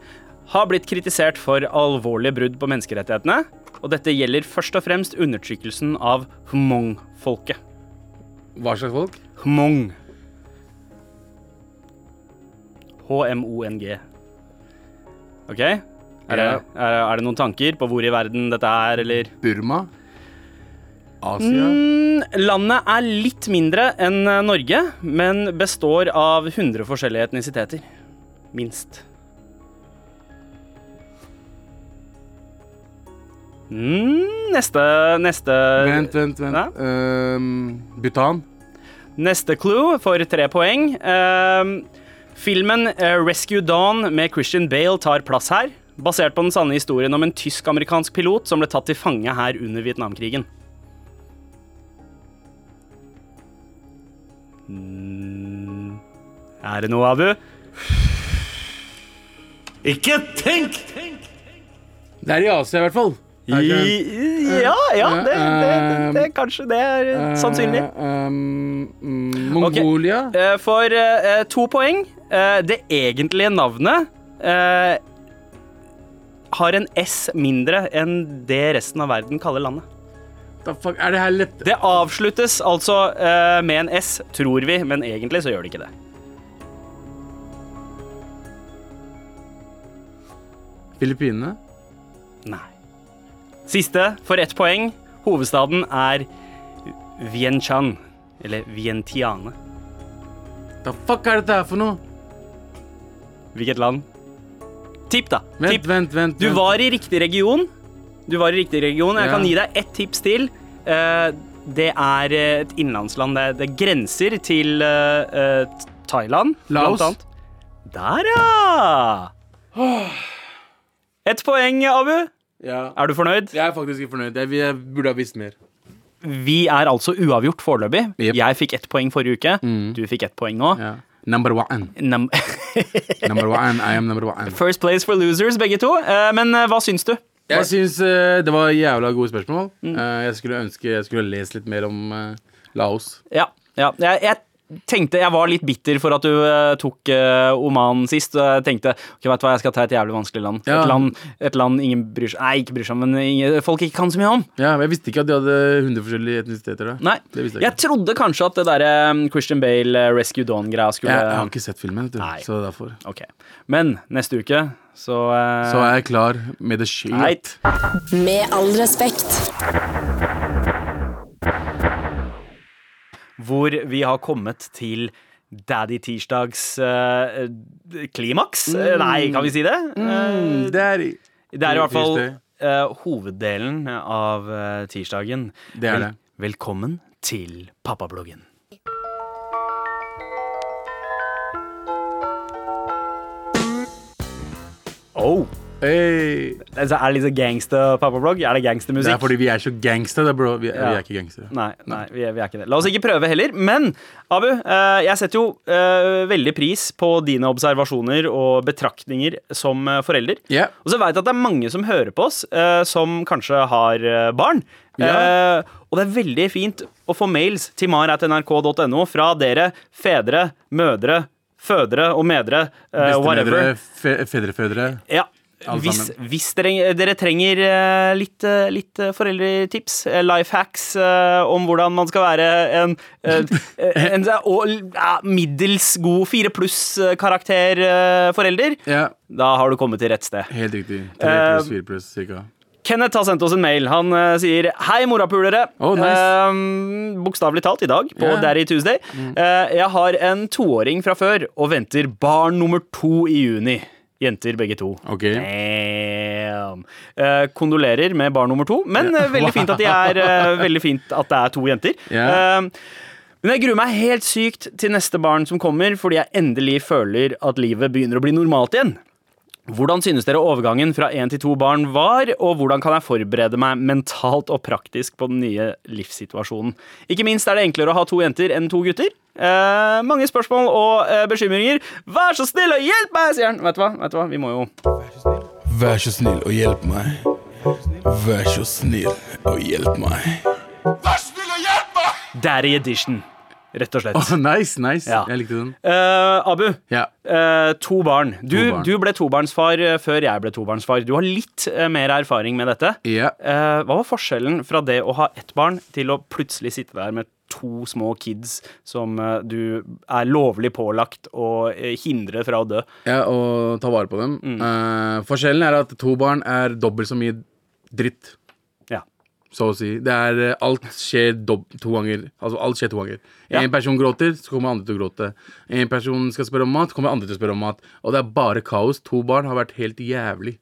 Speaker 2: har blitt kritisert for alvorlige brudd på menneskerettighetene. Og dette gjelder først og fremst undertrykkelsen av hmong-folket.
Speaker 3: Hva slags folk?
Speaker 2: Hmong. H-m-o-n-g. OK? Er det,
Speaker 3: Ja.
Speaker 2: er, er det noen tanker på hvor i verden dette er, eller
Speaker 3: Burma? Asia?
Speaker 2: Mm, Landet er litt mindre enn eh, Norge, men består av 100 forskjellige etnisiteter. Minst. Mm, neste neste,
Speaker 3: Vent, vent, vent.
Speaker 2: Ja.
Speaker 3: Ehm, Bhutan?
Speaker 2: neste clue for tre poeng. Ehm, filmen eh, Rescue Dawn med Christian Bale tar plass her. Basert på den sanne historien om en tysk-amerikansk pilot som ble tatt til fange her under Vietnamkrigen. Mm, Er det noe, Abu?
Speaker 6: Ikke tenk!
Speaker 3: Det er i Asia, i hvert fall. Er det ikke?
Speaker 2: I, ja, ja det, det, det, det, kanskje det er eh, sannsynlig.
Speaker 3: Ehm, mm, Mongolia?
Speaker 2: Eh, For eh, eh, to poeng. Eh, det egentlige navnet eh, har en S mindre enn det resten av verden kaller landet.
Speaker 3: Da fuck, er det her lett?
Speaker 2: Det avsluttes altså eh, med en S, tror vi, men egentlig så gjør det ikke det.
Speaker 3: Filippinene?
Speaker 2: Nei. Siste for ett poeng. Hovedstaden er Vientiane. Eller Vientiane.
Speaker 3: Da fuck er dette her for noe?
Speaker 2: Hvilket land? Tipp, da.
Speaker 3: Vent,
Speaker 2: Tipp.
Speaker 3: vent, vent.
Speaker 2: Du
Speaker 3: vent.
Speaker 2: var i riktig region. Du var i riktig region. Jeg
Speaker 3: Ja.
Speaker 2: kan gi deg ett tips til. Eh, det er eh, et innenlandsland. Det, det grenser til eh, eh, Thailand. blant
Speaker 3: Laos.
Speaker 2: annet. Der, ja! Ett poeng, Abu.
Speaker 3: ja.
Speaker 2: Er du fornøyd?
Speaker 3: Jeg er faktisk ikke fornøyd. Jeg, jeg burde ha visst mer.
Speaker 2: Vi er altså uavgjort foreløpig.
Speaker 3: Jep. Mm.
Speaker 2: Jeg fikk ett poeng forrige uke. Du fikk ett poeng nå.
Speaker 3: Ja. Number one.
Speaker 2: Nam-
Speaker 3: Number one. I am number one.
Speaker 2: First place for losers, begge to. Eh, men eh, hva syns du?
Speaker 3: Jeg syns eh, det var jævla gode spørsmål.
Speaker 2: Mm.
Speaker 3: Eh, jeg skulle ønske jeg skulle ha lest litt mer om eh, Laos.
Speaker 2: Ja, ja. Jeg, jeg tenkte jeg var litt bitter for at du eh, tok eh, Oman sist. Og jeg tenkte ok, vet du hva, jeg skal ta et jævlig vanskelig land.
Speaker 3: Ja.
Speaker 2: Et, land et land ingen bryr seg Nei, ikke bryr seg om, men ingen, folk ikke kan så mye om.
Speaker 3: Ja, men Jeg visste ikke at de hadde 100 forskjellige etnisiteter. da.
Speaker 2: Nei,
Speaker 3: Det visste
Speaker 2: jeg,
Speaker 3: Jeg ikke
Speaker 2: trodde kanskje at det derre eh, Christian Bale eh, Rescue Dawn-greia
Speaker 3: jeg,
Speaker 2: skulle
Speaker 3: jeg har ikke sett filmen, vet du.
Speaker 2: Nei.
Speaker 3: så det er derfor.
Speaker 2: Ok. Men neste uke, så, eh,
Speaker 3: Så er jeg klar med the shield.
Speaker 2: Heit.
Speaker 4: Med all respekt.
Speaker 2: hvor vi har kommet til Daddy Tirsdags eh, d- klimaks.
Speaker 3: Mm.
Speaker 2: Nei, kan vi si det? Eh,
Speaker 3: Det er i-
Speaker 2: Det er i hvert fall
Speaker 3: Tirsdag.
Speaker 2: eh, hoveddelen av eh, tirsdagen.
Speaker 3: Det er det.
Speaker 2: velkommen til pappabloggen. Oh,
Speaker 3: Hey.
Speaker 2: altså, er det litt sånn gangster-pappablogg? Er det
Speaker 3: Det er
Speaker 2: gangstermusikk?
Speaker 3: fordi vi er så gangsta, da, bro. Vi er, vi
Speaker 2: Ja.
Speaker 3: er ikke gangstere.
Speaker 2: Nei, uh, nei vi, er, vi er ikke det. La oss ikke prøve heller. Men Abu, eh, jeg setter jo eh, veldig pris på dine observasjoner og betraktninger som eh, forelder.
Speaker 3: Ja.
Speaker 2: Og så veit jeg at det er mange som hører på oss, eh, som kanskje har eh, barn.
Speaker 3: Ja.
Speaker 2: Eh, og det er veldig fint å få mails til mar.nrk.no fra dere fedre, mødre, fødre og medre. eh, whatever.
Speaker 3: Bestemødre, fe fedrefødre.
Speaker 2: Ja.
Speaker 3: Alle
Speaker 2: Hvis,
Speaker 3: sammen.
Speaker 2: hvis dere, dere trenger eh, litt, eh, litt eh, foreldretips, eh, life hacks eh, om hvordan man skal være en, eh, en, eh, og, ja, middels god fire eh, pluss-karakter-forelder,
Speaker 3: Ja,
Speaker 2: eh, da har du kommet til rett sted.
Speaker 3: helt riktig. Tre pluss,
Speaker 2: Eh,
Speaker 3: fire pluss, cirka.
Speaker 2: Kenneth har sendt oss en mail. Han eh, sier Hei, morapulere.
Speaker 3: Oh, nice.
Speaker 2: Eh, Bokstavelig talt i dag, på
Speaker 3: Ja. Mm.
Speaker 2: Daddy Tuesday. Eh, jeg har en toåring fra før og venter barn nummer to i juni. Jenter, begge to.
Speaker 3: Ok.
Speaker 2: Damn. Eh, kondolerer med barn nummer to, men eh, veldig fint at de er eh, Veldig fint at det er to jenter.
Speaker 3: Ja.
Speaker 2: Eh, Men jeg gruer meg helt sykt til neste barn som kommer, fordi jeg endelig føler at livet begynner å bli normalt igjen. Hvordan synes dere overgangen fra én til to barn var, og hvordan kan jeg forberede meg mentalt og praktisk på den nye livssituasjonen? Ikke minst er det enklere å ha to jenter enn to gutter. Eh, mange spørsmål og eh, bekymringer. Vær så snill og hjelp meg, sier han! Vet du hva? Vet du hva? Vi må jo
Speaker 1: Vær så snill og hjelp meg. Vær så snill og hjelp meg.
Speaker 2: Daddy edition, rett og slett.
Speaker 3: Å, nice, nice.
Speaker 2: Ja.
Speaker 3: Jeg likte den.
Speaker 2: Eh, Abu,
Speaker 3: Ja.
Speaker 2: Eh, to barn. Du,
Speaker 3: To barn.
Speaker 2: du ble tobarnsfar eh, før jeg ble tobarnsfar. Du har litt eh, mer erfaring med dette.
Speaker 3: ja.
Speaker 2: Eh, hva var forskjellen fra det å ha ett barn til å plutselig sitte der med to små kids som eh, du er lovlig pålagt å eh, hindre fra å dø?
Speaker 3: Ja, og ta vare på dem.
Speaker 2: Mm.
Speaker 3: Eh, forskjellen er at to barn er dobbelt så mye dritt,
Speaker 2: Ja.
Speaker 3: så å si. Det er eh, Alt skjer dob to ganger. Altså, alt skjer to ganger. En person gråter, så kommer andre til å gråte. En person skal spørre om mat, kommer andre til å spørre om mat. Og det er bare kaos. To barn har vært helt jævlig.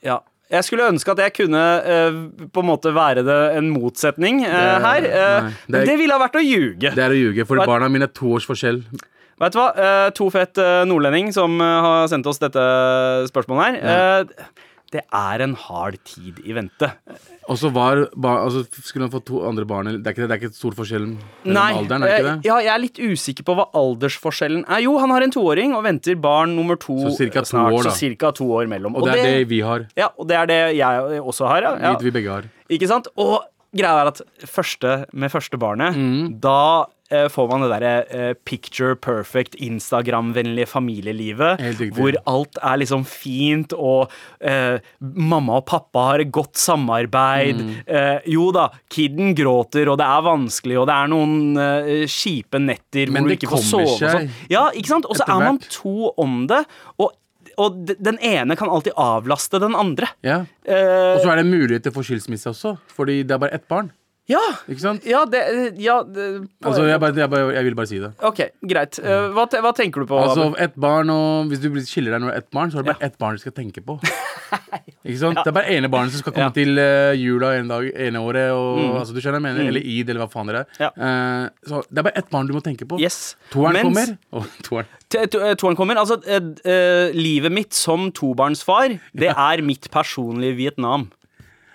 Speaker 2: Ja. Jeg skulle ønske at jeg kunne eh, på en måte være det en motsetning eh, her. Eh,
Speaker 3: nei, det er-
Speaker 2: men det ville ha vært å ljuge.
Speaker 3: Det er å ljuge, for
Speaker 2: Hva-
Speaker 3: barna mine er to års forskjell.
Speaker 2: Vet du hva? Eh, to fett eh, nordlending som eh, har sendt oss dette spørsmålet her. Eh, det er en hard tid i vente.
Speaker 3: Og så var bar altså, Skulle han få to andre barn? eller- Det er ikke, det er ikke stor forskjell mellom alderen? er det ikke
Speaker 2: eh,
Speaker 3: det?
Speaker 2: ja, jeg er litt usikker på hva aldersforskjellen er. Jo, han har en toåring og venter barn nummer to
Speaker 3: Så cirka
Speaker 2: eh,
Speaker 3: to
Speaker 2: snart.
Speaker 3: år, da.
Speaker 2: Så cirka to år mellom.
Speaker 3: Og det er det vi har.
Speaker 2: ja, og det er det jeg også har. Ja.
Speaker 3: Vi, vi
Speaker 2: Ja.
Speaker 3: begge har.
Speaker 2: Ikke sant? Og greia er at første, med første barnet,
Speaker 3: Mm.
Speaker 2: da eh, får man det derre eh, picture perfect, Instagram-vennlige familielivet.
Speaker 3: Helt riktig.
Speaker 2: Hvor alt er liksom fint, og eh, mamma og pappa har et godt samarbeid.
Speaker 3: Mm.
Speaker 2: Eh, jo da, kiden gråter, og det er vanskelig, og det er noen eh, kjipe netter
Speaker 3: Men
Speaker 2: hvor du
Speaker 3: det
Speaker 2: ikke får
Speaker 3: kommer
Speaker 2: sove. og
Speaker 3: seg
Speaker 2: sånn. Ja, ikke sant? Og så
Speaker 3: etter
Speaker 2: er man
Speaker 3: hvert.
Speaker 2: to om det, og, og d- den ene kan alltid avlaste den andre.
Speaker 3: Ja.
Speaker 2: Eh,
Speaker 3: Og så er det muligheter for skilsmisse også, fordi det er bare ett barn.
Speaker 2: ja,
Speaker 3: Ikke sant?
Speaker 2: ja, det, ja det,
Speaker 3: Altså, jeg, bare, jeg, bare, jeg vil bare si det.
Speaker 2: Ok, greit. Eh, hva, te, hva tenker du på?
Speaker 3: Altså,
Speaker 2: Abu?
Speaker 3: ett barn og Hvis du blir- skiller deg når du er ett barn, så er det bare ett barn du skal tenke på. Ikke sant? Det er bare ene barnet som skal komme
Speaker 2: Ja. Mm.
Speaker 3: til eh, jula en dag, ene året, og, altså, du skjønner hva jeg mener, eller id, eller hva faen det er.
Speaker 2: Ja.
Speaker 3: Eh, så det er bare ett barn du må tenke på.
Speaker 2: Yes.
Speaker 3: Toeren
Speaker 2: Mens-
Speaker 3: kommer. Å, toeren.
Speaker 2: Te- to- eh, Toeren kommer. Altså, eh, d- eh, livet mitt som tobarnsfar, det er mitt personlige Vietnam.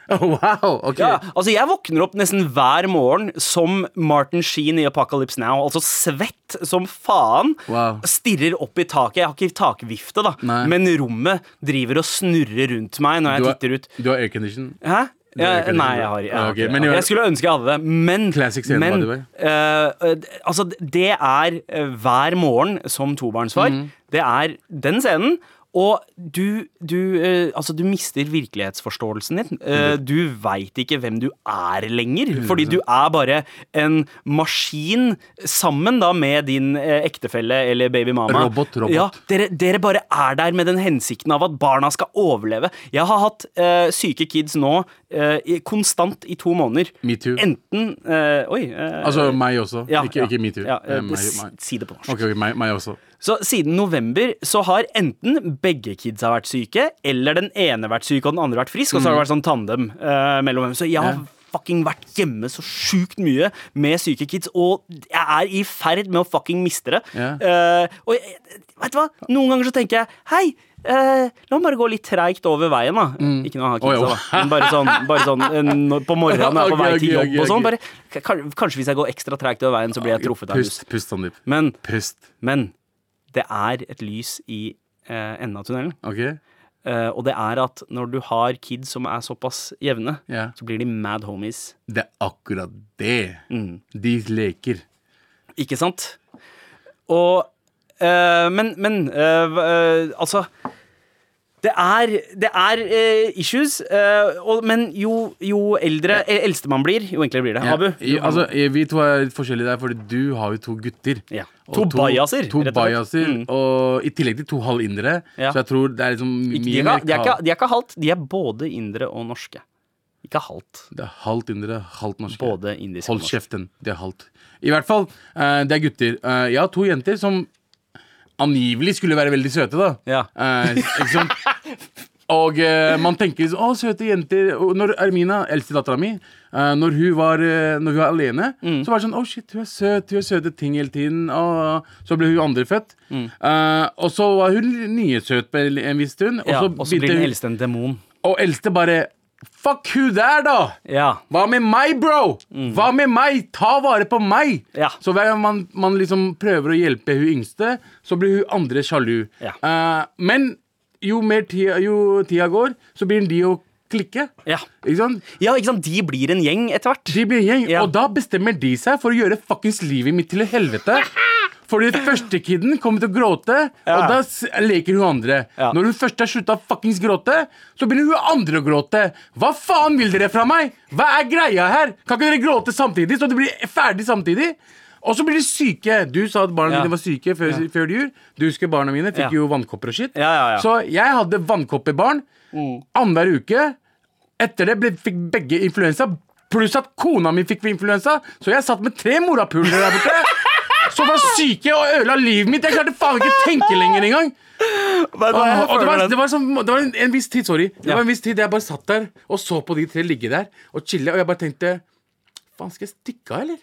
Speaker 3: wow! Ok.
Speaker 2: Ja, altså Jeg våkner opp nesten hver morgen som Martin Sheen i Apocalypse Now. Altså svett som faen.
Speaker 3: Wow.
Speaker 2: Stirrer opp i taket. Jeg har ikke takvifte, da,
Speaker 3: Nei.
Speaker 2: men rommet driver og snurrer rundt meg når jeg
Speaker 3: Du har-
Speaker 2: titter ut.
Speaker 3: Du har aircondition.
Speaker 2: Hæ?
Speaker 3: Det er
Speaker 2: Ja,
Speaker 3: ikke det.
Speaker 2: nei, jeg har ikke
Speaker 3: Ah, ok,
Speaker 2: jeg, har
Speaker 3: men
Speaker 2: ikke-
Speaker 3: i-
Speaker 2: jeg skulle ønske jeg hadde det, men
Speaker 3: Classic scene, by
Speaker 2: men,
Speaker 3: the way.
Speaker 2: eh, eh, Altså, det er eh, hver morgen som tobarnsfar.
Speaker 3: Mm.
Speaker 2: Det er den scenen. Og du, du, eh, altså, du mister virkelighetsforståelsen din. Eh,
Speaker 3: Mm.
Speaker 2: du veit ikke hvem du er lenger. Fordi du er bare en maskin sammen da med din eh, ektefelle eller babymama.
Speaker 3: Robot, robot.
Speaker 2: Ja, dere, dere bare er der med den hensikten av at barna skal overleve. Jeg har hatt eh, syke kids nå eh, i- konstant i to måneder.
Speaker 3: Metoo.
Speaker 2: Enten eh, Oi. eh,
Speaker 3: Altså meg også.
Speaker 2: ja,
Speaker 3: ikke,
Speaker 2: ja,
Speaker 3: ikke metoo.
Speaker 2: Ja, eh,
Speaker 3: Eh, meg,
Speaker 2: si-
Speaker 3: meg.
Speaker 2: Si det på norsk.
Speaker 3: Ok, ok, meg, meg også.
Speaker 2: Så siden november så har enten begge kidsa vært syke, eller den ene vært syk og den andre vært frisk, og så har det vært sånn tandem eh, mellom dem. Så jeg har
Speaker 3: Mm. Ja.
Speaker 2: fucking vært hjemme så sjukt mye med syke kids, og jeg er i ferd med å fucking miste det.
Speaker 3: Ja.
Speaker 2: Eh, og jeg, vet du hva? Noen ganger så tenker jeg hei, eh, la meg bare gå litt treigt over veien, da. Ikke når jeg har
Speaker 3: Å,
Speaker 2: kidsa,
Speaker 3: jo.
Speaker 2: da. Men bare sånn, bare sånn eh, når- på morgenen når jeg er på
Speaker 3: Ok,
Speaker 2: vei
Speaker 3: ok,
Speaker 2: til jobb
Speaker 3: ok,
Speaker 2: og sånn.
Speaker 3: ok.
Speaker 2: Bare, kan- kanskje hvis jeg går ekstra treigt over veien, så blir jeg truffet Mm. av buss.
Speaker 3: Pust, pust, Sandeep.
Speaker 2: Men
Speaker 3: Pust.
Speaker 2: men det er et lys i eh, enden av tunnelen.
Speaker 3: Ok?
Speaker 2: Eh, og det er at når du har kids som er såpass jevne,
Speaker 3: Ja.
Speaker 2: så blir de mad homies.
Speaker 3: Det er akkurat det.
Speaker 2: Mm.
Speaker 3: De leker.
Speaker 2: Ikke sant? Og eh, Men, men eh, hva- eh, Altså det er, det er eh, issues, eh, og, men jo, jo eldre eh, eldste man blir, jo enklere blir det.
Speaker 3: Ja,
Speaker 2: Abu?
Speaker 3: i- altså, eh, vi to er litt forskjellige der, Fordi du har jo to gutter.
Speaker 2: Ja.
Speaker 3: Og
Speaker 2: To bajaser,
Speaker 3: To
Speaker 2: rett og slett. Mm.
Speaker 3: bajaser, og I tillegg til to halvindere.
Speaker 2: Ja.
Speaker 3: Så jeg tror det er liksom mye
Speaker 2: de, er,
Speaker 3: mer
Speaker 2: ikke- de, er ikke,
Speaker 3: kaos.
Speaker 2: de er ikke halvt. De er både indre og norske. Ikke halvt.
Speaker 3: Det er halvt indere, halvt norske.
Speaker 2: Både indisk og
Speaker 3: Hold
Speaker 2: norsk.
Speaker 3: kjeften. Det er halvt. I hvert fall, eh, det er gutter. Eh, jeg har to jenter som angivelig skulle være veldig søte, da.
Speaker 2: Ja.
Speaker 3: Eh, ikke sant? Og eh, man tenker sånn Å, søte jenter. Og når Ermina, eldstedattera mi, eh, når, hun var, eh, når hun var alene,
Speaker 2: Mm.
Speaker 3: så var det sånn Å, shit, hun er søt. Hun gjør søte ting hele tiden. Og så ble hun andrefødt.
Speaker 2: Mm.
Speaker 3: Eh, og så var hun nysøt på en en viss stund. Og
Speaker 2: Ja,
Speaker 3: så
Speaker 2: og så blir
Speaker 3: begynte
Speaker 2: den
Speaker 3: hun-
Speaker 2: eldste en demon.
Speaker 3: Og eldste bare Fuck hun der, da!
Speaker 2: Ja.
Speaker 3: Hva med meg, bro? Hva med meg? Ta vare på meg!
Speaker 2: Ja.
Speaker 3: Så hver gang man, man liksom prøver å hjelpe hun yngste, så blir hun andre sjalu.
Speaker 2: Ja.
Speaker 3: Eh, men jo mer tida, jo tida går, så begynner de å klikke.
Speaker 2: Ja.
Speaker 3: Ikke sant?
Speaker 2: ja, ikke sant? De blir en gjeng etter hvert.
Speaker 3: De blir en gjeng,
Speaker 2: Ja.
Speaker 3: og da bestemmer de seg for å gjøre fuckings livet mitt til helvete. Fordi den første kiden kommer til å gråte, og
Speaker 2: Ja.
Speaker 3: da s- leker hun andre.
Speaker 2: Ja.
Speaker 3: Når hun først har slutta å fuckings gråte, så begynner hun andre å gråte. Hva faen vil dere fra meg? Hva er greia her? Kan ikke dere gråte samtidig, så det blir ferdig samtidig? Og så blir de syke. Du sa at barna
Speaker 2: Ja.
Speaker 3: dine var syke før, før jul. Du husker barna mine fikk
Speaker 2: Ja.
Speaker 3: jo vannkopper og shit.
Speaker 2: Ja, ja, Mm. ja.
Speaker 3: Så jeg hadde vannkopperbarn annenhver uke. Etter det ble, fikk begge influensa, pluss at kona mi fikk influensa. Så jeg satt med tre morapuler der borte. Som var syke og ødela livet mitt. Jeg klarte faen ikke tenke lenger engang. Åh, og det var, det, var sånn, det var en, en viss tid, sorry. Det
Speaker 2: Ja.
Speaker 3: var en viss tid Jeg bare satt der og så på de tre ligge der og chille, og jeg bare tenkte Faen, skal jeg stikke av, eller?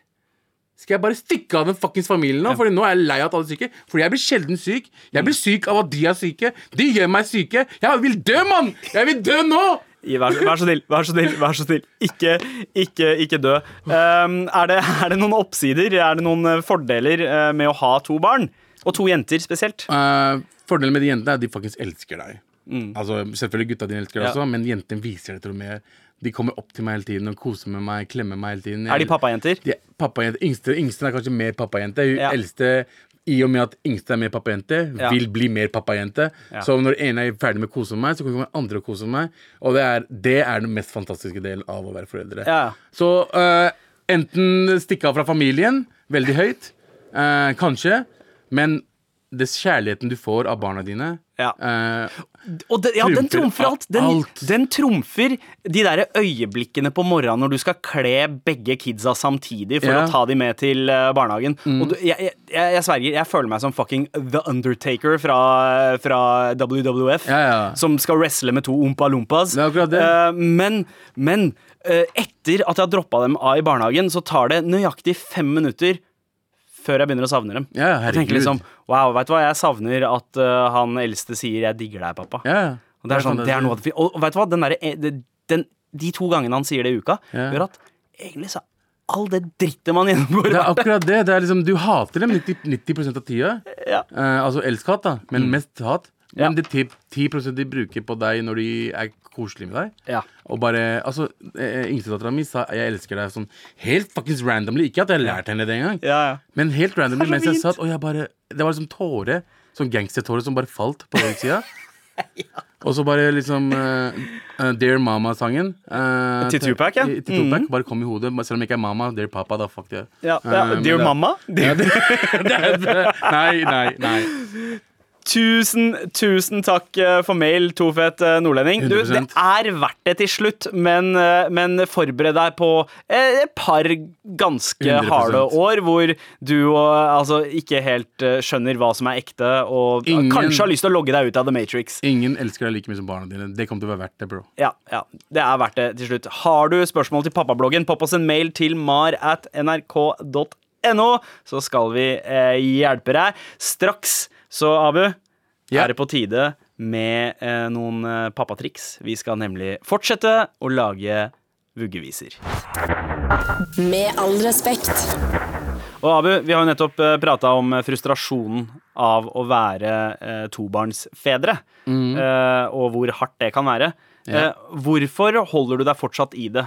Speaker 3: Skal jeg bare stikke av den fuckings familien nå? Fordi nå er jeg lei av at alle er syke. Fordi jeg blir sjelden syk. Jeg blir syk av at de er syke. De gjør meg syke. Jeg vil dø, mann! Jeg vil dø nå!
Speaker 2: I- Vær, vær så snill, vær så snill. vær så snill Ikke, ikke, ikke dø. Ehm, er, det, er det noen oppsider, er det noen eh, fordeler eh, med å ha to barn? Og to jenter spesielt.
Speaker 3: Eh, fordelen med de jentene er at de faktisk elsker deg. Altså, selvfølgelig gutta dine elsker deg
Speaker 2: Ja.
Speaker 3: også, men jentene viser det til og med. De kommer opp til meg hele tiden og koser med meg, klemmer meg hele tiden.
Speaker 2: Er de pappajenter?
Speaker 3: De, pappajente, yngste, yngste er kanskje mer pappajente. Hun
Speaker 2: Ja.
Speaker 3: eldste, i og med at yngste er mer pappajente,
Speaker 2: Ja.
Speaker 3: vil bli mer pappajente.
Speaker 2: Ja.
Speaker 3: Så når den ene er ferdig med å kose med meg, så kommer den andre og koser meg. Og det er, det er den mest fantastiske delen av å være foreldre.
Speaker 2: Ja.
Speaker 3: Så eh, enten stikke av fra familien, veldig høyt, eh, kanskje, men det kjærligheten du får av barna dine
Speaker 2: Ja.
Speaker 3: eh,
Speaker 2: Og den, ja, den trumfer
Speaker 3: Trumfer
Speaker 2: alt. Den,
Speaker 3: alt.
Speaker 2: den trumfer de der øyeblikkene på morgenen når du skal kle begge kidsa samtidig for
Speaker 3: Ja. Mm.
Speaker 2: å ta de med til eh, barnehagen. Og du, jeg, jeg, jeg, jeg sverger, jeg føler meg som fucking The Undertaker fra, fra WWF.
Speaker 3: Ja, ja.
Speaker 2: Som skal wrestle med to ompa lompas.
Speaker 3: Det er akkurat det.
Speaker 2: Eh, men men eh, etter at jeg har droppa dem av i barnehagen, så tar det nøyaktig fem minutter før jeg begynner å savne dem.
Speaker 3: Ja,
Speaker 2: jeg tenker
Speaker 3: herregud.
Speaker 2: liksom Wow, veit du hva, jeg savner at eh, han eldste sier 'jeg digger deg, pappa'.
Speaker 3: ja.
Speaker 2: Og det er sånn, det er noe av det fi- Og vet du hva, den derre- eh, det- den, de to gangene han sier det i uka,
Speaker 3: Ja.
Speaker 2: gjør at egentlig så er all det drittet man gjennomgår
Speaker 3: Det er akkurat det. det er liksom, du hater dem 90, 90 av tida.
Speaker 2: ja. Mm.
Speaker 3: Eh, altså elsk-hat, da, men mest hat.
Speaker 2: Ja.
Speaker 3: Men det ti- 10 de bruker på deg når de er koselige med deg.
Speaker 2: Ja.
Speaker 3: Og bare, altså, eh, Yngstedattera mi sa 'jeg elsker deg' sånn helt fuckings randomly. Ikke at jeg lærte henne det engang,
Speaker 2: Ja, ja.
Speaker 3: men helt randomly
Speaker 2: Det er så
Speaker 3: mens
Speaker 2: fint.
Speaker 3: jeg satt. Og jeg bare, det var liksom tåre, sånn gangstertåre som bare falt på høyresida. Og så bare liksom eh, eh, Dear Mama-sangen. eh,
Speaker 2: Til Tupac, ja. Mm.
Speaker 3: i- Til Tupac, Bare kom i hodet. Selv om jeg ikke er mama. Dear Papa, da fuck det.
Speaker 2: Ja,
Speaker 3: Eh,
Speaker 2: ja,
Speaker 3: men
Speaker 2: dear
Speaker 3: det-
Speaker 2: mamma. Dear.
Speaker 3: Nei, nei, nei.
Speaker 2: Tusen, tusen takk eh, for mail, Tofet eh, nordlending. Du, det
Speaker 3: 100%.
Speaker 2: er verdt det til slutt, men, eh, men forbered deg på eh, et par ganske
Speaker 3: 100%.
Speaker 2: harde år hvor du og, altså, ikke helt eh, skjønner hva som er ekte, og
Speaker 3: Ingen-
Speaker 2: kanskje har lyst til å logge deg ut av The Matrix.
Speaker 3: Ingen elsker deg like mye som barna dine. Det kommer til å være verdt det, bro.
Speaker 2: Ja, ja, det er verdt det til slutt. Har du spørsmål til pappabloggen, popp oss en mail til mar at nrk.no, så skal vi eh, hjelpe deg. Straks, så Abu,
Speaker 3: Ja.
Speaker 2: er det på tide med eh, noen eh, pappatriks. Vi skal nemlig fortsette å lage vuggeviser.
Speaker 4: Med all respekt.
Speaker 2: Og Abu, vi har jo nettopp eh, prata om eh, frustrasjonen av å være eh, tobarnsfedre. Eh, og hvor hardt det kan være.
Speaker 3: Mm. Ja.
Speaker 2: Eh, hvorfor holder du deg fortsatt i det?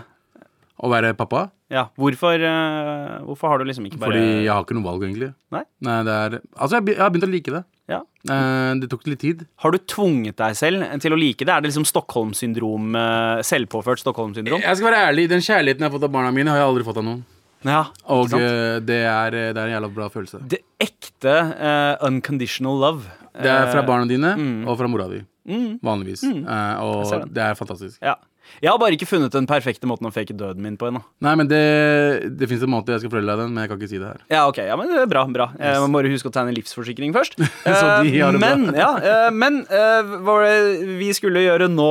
Speaker 3: Å være pappa?
Speaker 2: Ja, hvorfor, eh, hvorfor har du liksom ikke bare
Speaker 3: Fordi jeg har ikke noe valg, egentlig.
Speaker 2: Nei?
Speaker 3: Nei, det er Altså, jeg, be- jeg har begynt å like det.
Speaker 2: Ja.
Speaker 3: Eh, det tok litt tid.
Speaker 2: Har du tvunget deg selv til å like det? Er det liksom Stockholm-syndrom, eh, selvpåført Stockholm-syndrom?
Speaker 3: Jeg skal være ærlig, den kjærligheten jeg har fått av barna mine, har jeg aldri fått av noen.
Speaker 2: Ja, ikke
Speaker 3: Og
Speaker 2: sant?
Speaker 3: eh, det, er, det er en jævla bra følelse.
Speaker 2: det ekte eh, unconditional love.
Speaker 3: Det er
Speaker 2: Eh,
Speaker 3: fra
Speaker 2: Mm.
Speaker 3: barna dine og fra mora di. Vanligvis. Eh,
Speaker 2: ser
Speaker 3: og
Speaker 2: den.
Speaker 3: det er fantastisk.
Speaker 2: Ja. Jeg har bare ikke funnet den perfekte måten å fake døden min på ennå.
Speaker 3: Nei, men det, det fins en måte jeg skal fortelle deg den, men jeg kan ikke si det her.
Speaker 2: Ja, ok, ja, men det er bra, bra yes. Man må bare huske å tegne livsforsikring først
Speaker 3: Så de har det bra.
Speaker 2: Men, ja, eh, men eh, hva var det vi skulle gjøre nå?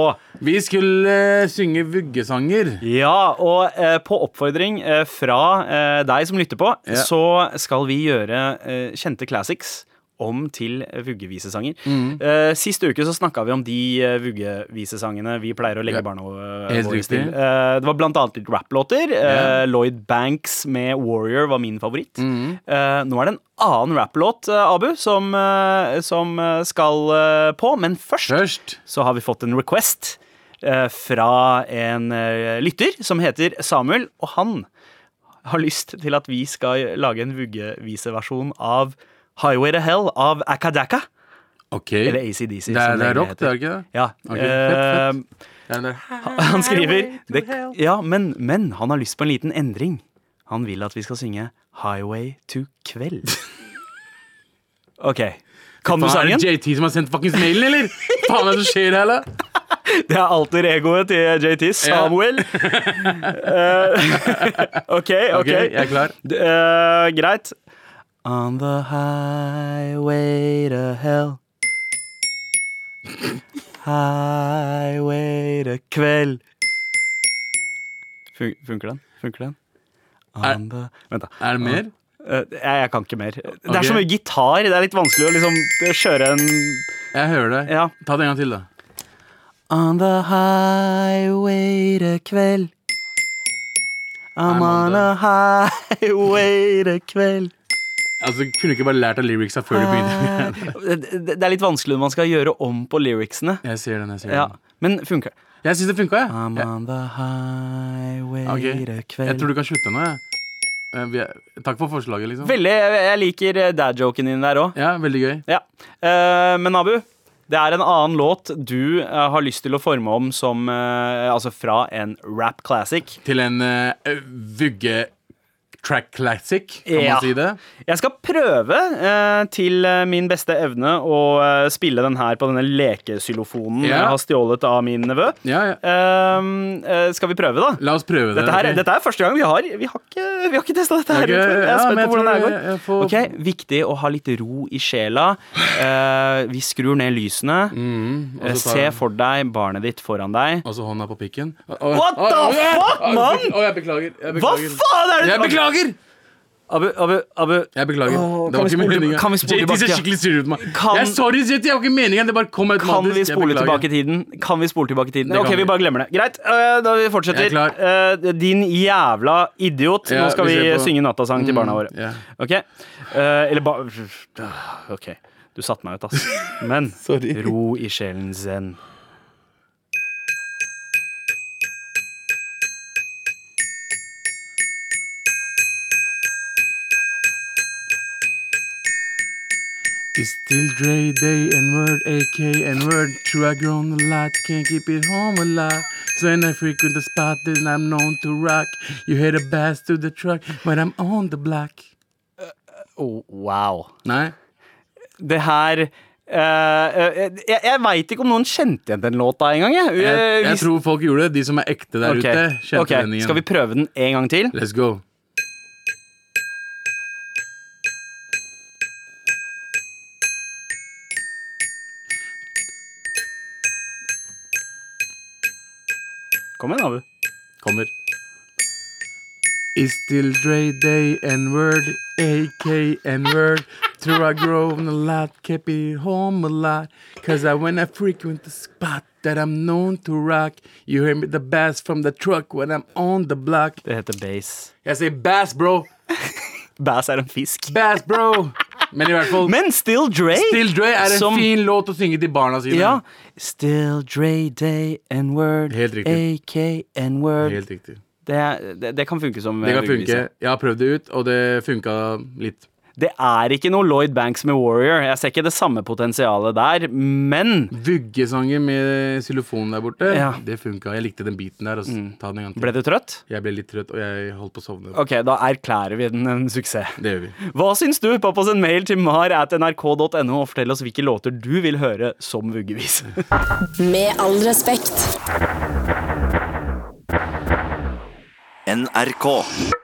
Speaker 3: Vi skulle eh, synge vuggesanger.
Speaker 2: Ja, og eh, på oppfordring eh, fra eh, deg som lytter på
Speaker 3: Ja.
Speaker 2: Så skal vi gjøre eh, kjente classics om til vuggevisesanger
Speaker 3: Mm.
Speaker 2: eh, Sist uke så snakket vi om de eh, vuggevisesangene vi pleier å legge
Speaker 3: Ja.
Speaker 2: barna våre
Speaker 3: Helt
Speaker 2: våre til
Speaker 3: riktig.
Speaker 2: Eh, Det var blant annet litt rapplåter Eh,
Speaker 3: Ja. Mm.
Speaker 2: Lloyd Banks med Warrior var min favoritt Eh, nå er det en annen rapplåt, eh, Abu, som, eh, som eh, skal eh, på. Men først
Speaker 3: Først
Speaker 2: så har vi fått en request eh, fra en eh, lytter som heter Samuel, og han har lyst til at vi skal lage en vuggeviseversjon av Highway to Hell av Akadaka.
Speaker 3: OK.
Speaker 2: Eller ACDC. som
Speaker 3: Det er, det er
Speaker 2: egentlig
Speaker 3: rock, det er
Speaker 2: heter.
Speaker 3: ikke det?
Speaker 2: Ja.
Speaker 3: Ok,
Speaker 2: eh,
Speaker 3: fett, Det er den der.
Speaker 2: han skriver det, Ja, men, men han har lyst på en liten endring. Han vil at vi skal synge Highway to kveld. OK. Kan du
Speaker 3: Faen, Er
Speaker 2: sangen?
Speaker 3: det JT som har sendt fuckings mailen, eller? Faen, er det som skjer her, eller?
Speaker 2: Det er alter egoet til JT. Samuel. Eh, OK,
Speaker 3: OK,
Speaker 2: OK.
Speaker 3: jeg er klar.
Speaker 2: D- eh, greit. On the highway to hell. Highway to kveld. Fun funker den? Funker den? On the Vent, da.
Speaker 3: Er det mer?
Speaker 2: Eh, jeg, jeg kan ikke mer. Det
Speaker 3: Ok.
Speaker 2: er så mye gitar. Det er litt vanskelig å liksom kjøre en
Speaker 3: Jeg hører deg.
Speaker 2: Ja.
Speaker 3: Ta det en gang til, da.
Speaker 2: On the highway to kveld. I'm on a highway to kveld.
Speaker 3: Altså, Kunne du ikke bare lært av lyricsa før du begynte?
Speaker 2: det, det- det er litt vanskelig når man skal gjøre om på lyricsene.
Speaker 3: Jeg ser den, jeg ser
Speaker 2: Ja, Ah,
Speaker 3: den.
Speaker 2: men funker.
Speaker 3: Jeg syns det funka, jeg.
Speaker 2: I'm
Speaker 3: jeg.
Speaker 2: on the highway to
Speaker 3: ok.
Speaker 2: kveld.
Speaker 3: Jeg tror du kan slutte nå, jeg. Eh, vi er- Takk for forslaget, liksom.
Speaker 2: Veldig, jeg jeg liker eh, dad-joken din der òg.
Speaker 3: Ja, veldig gøy.
Speaker 2: Ja. Eh, men Abu, det er en annen låt du eh, har lyst til å forme om som eh, Altså fra en rap classic.
Speaker 3: Til en eh, vugge track classic, kan
Speaker 2: Ja.
Speaker 3: man si det.
Speaker 2: Jeg skal prøve eh, til eh, min beste evne å eh, spille den her på denne lekesyllofonen
Speaker 3: Ja.
Speaker 2: jeg har stjålet av min nevø.
Speaker 3: Ja, ja.
Speaker 2: Ehm, eh, skal vi prøve, da?
Speaker 3: La oss prøve det.
Speaker 2: Dette, her,
Speaker 3: ok?
Speaker 2: dette er første gang vi har Vi har ikke, vi har ikke testa dette her.
Speaker 3: Ok,
Speaker 2: ut før. Jeg
Speaker 3: ja,
Speaker 2: er spent
Speaker 3: men
Speaker 2: på hvordan det her
Speaker 3: jeg tror
Speaker 2: går.
Speaker 3: jeg- jeg får-
Speaker 2: Ok, Viktig å ha litt ro i sjela. Eh, vi skrur ned lysene. Eh,
Speaker 3: Mm, og så tar
Speaker 2: Se
Speaker 3: jeg-
Speaker 2: for deg barnet ditt foran deg.
Speaker 3: Og så hånda på pikken.
Speaker 2: What the fuck, mann?
Speaker 3: Å, jeg beklager.
Speaker 2: Hva
Speaker 3: Jeg beklager.
Speaker 2: faen er det
Speaker 3: Jeg beklager!
Speaker 2: Abu, Abu, Abu.
Speaker 3: Jeg beklager.
Speaker 2: Åh, kan vi
Speaker 3: det var ikke
Speaker 2: spole tilba-
Speaker 3: meningen.
Speaker 2: kan vi spole
Speaker 3: JT ser
Speaker 2: tilbake?
Speaker 3: skikkelig sur ut på meg.
Speaker 2: Kan-
Speaker 3: Jeg er sorry, JT. Jeg var ikke meningen. Det bare kom
Speaker 2: Kan
Speaker 3: automatisk.
Speaker 2: vi spole
Speaker 3: jeg beklager.
Speaker 2: tilbake tiden? Kan vi spole tilbake tiden?
Speaker 3: Det
Speaker 2: Ok,
Speaker 3: kan
Speaker 2: vi
Speaker 3: vi.
Speaker 2: bare glemmer det. Greit, øh, da vi fortsetter.
Speaker 3: Jeg er klar.
Speaker 2: Øh, din jævla idiot.
Speaker 3: Ja,
Speaker 2: Nå skal
Speaker 3: vi
Speaker 2: vi,
Speaker 3: ser på- Mm,
Speaker 2: synge nattasang til barna våre.
Speaker 3: ja.
Speaker 2: Ok? Øh, eller ba... Ok, du satte meg ut, ass. Men
Speaker 3: Sorry.
Speaker 2: ro i sjelen zen.
Speaker 3: It's still Dre Day, N-word, AK, N-word. True, I grown a lot, can't keep it home alive. So when I frequent the spot that I'm known to rock, you hit a bass to the truck, but I'm on the block.
Speaker 2: Oh, wow.
Speaker 3: Nei?
Speaker 2: Det her øh, øh, Jeg, jeg veit ikke om noen kjente igjen den låta engang. Jeg. Øh,
Speaker 3: Jeg, jeg
Speaker 2: hvis-
Speaker 3: tror folk gjorde det. De som er ekte der
Speaker 2: Ok,
Speaker 3: ute, kjente
Speaker 2: ok,
Speaker 3: den igjen.
Speaker 2: Skal vi prøve den en gang til?
Speaker 3: Let's go.
Speaker 2: Kom igjen, Abu.
Speaker 3: Kommer. It's still Dre Day, N-word, AK, N-word. Till I grow a lot, kept it home a lot. Cause I when I frequent the spot that I'm known to rock. You hear me the bass from the truck when I'm on the block.
Speaker 2: Det heter bass.
Speaker 3: Jeg sier bass, bro.
Speaker 2: Bass er en fisk.
Speaker 3: Bass, bro. Men i hvert fall,
Speaker 2: Men Still Dre
Speaker 3: Still Dre er en
Speaker 2: som-
Speaker 3: fin låt å synge til barna sine.
Speaker 2: Ja. Still Dre Day N-word.
Speaker 3: Helt riktig.
Speaker 2: AK N-word.
Speaker 3: Helt riktig.
Speaker 2: Det, er- det, det kan funke som
Speaker 3: Det
Speaker 2: eh,
Speaker 3: kan funke.
Speaker 2: vuggeviser.
Speaker 3: Jeg har prøvd det ut, og det funka litt.
Speaker 2: Det er ikke noe Lloyd Banks med Warrior. Jeg ser ikke det samme potensialet der, men
Speaker 3: Vuggesanger med xylofonen der borte,
Speaker 2: Ja. Mm.
Speaker 3: det funka. Jeg likte den biten der. Altså. Ta den en gang til.
Speaker 2: Ble du trøtt?
Speaker 3: Jeg ble litt trøtt, og jeg holdt på å sovne.
Speaker 2: Ok, da erklærer vi den en suksess.
Speaker 3: Det gjør vi.
Speaker 2: Hva syns du? Papp oss en mail til mar at nrk.no og fortell oss hvilke låter du vil høre som vuggevis.
Speaker 4: Med all respekt.
Speaker 6: NRK.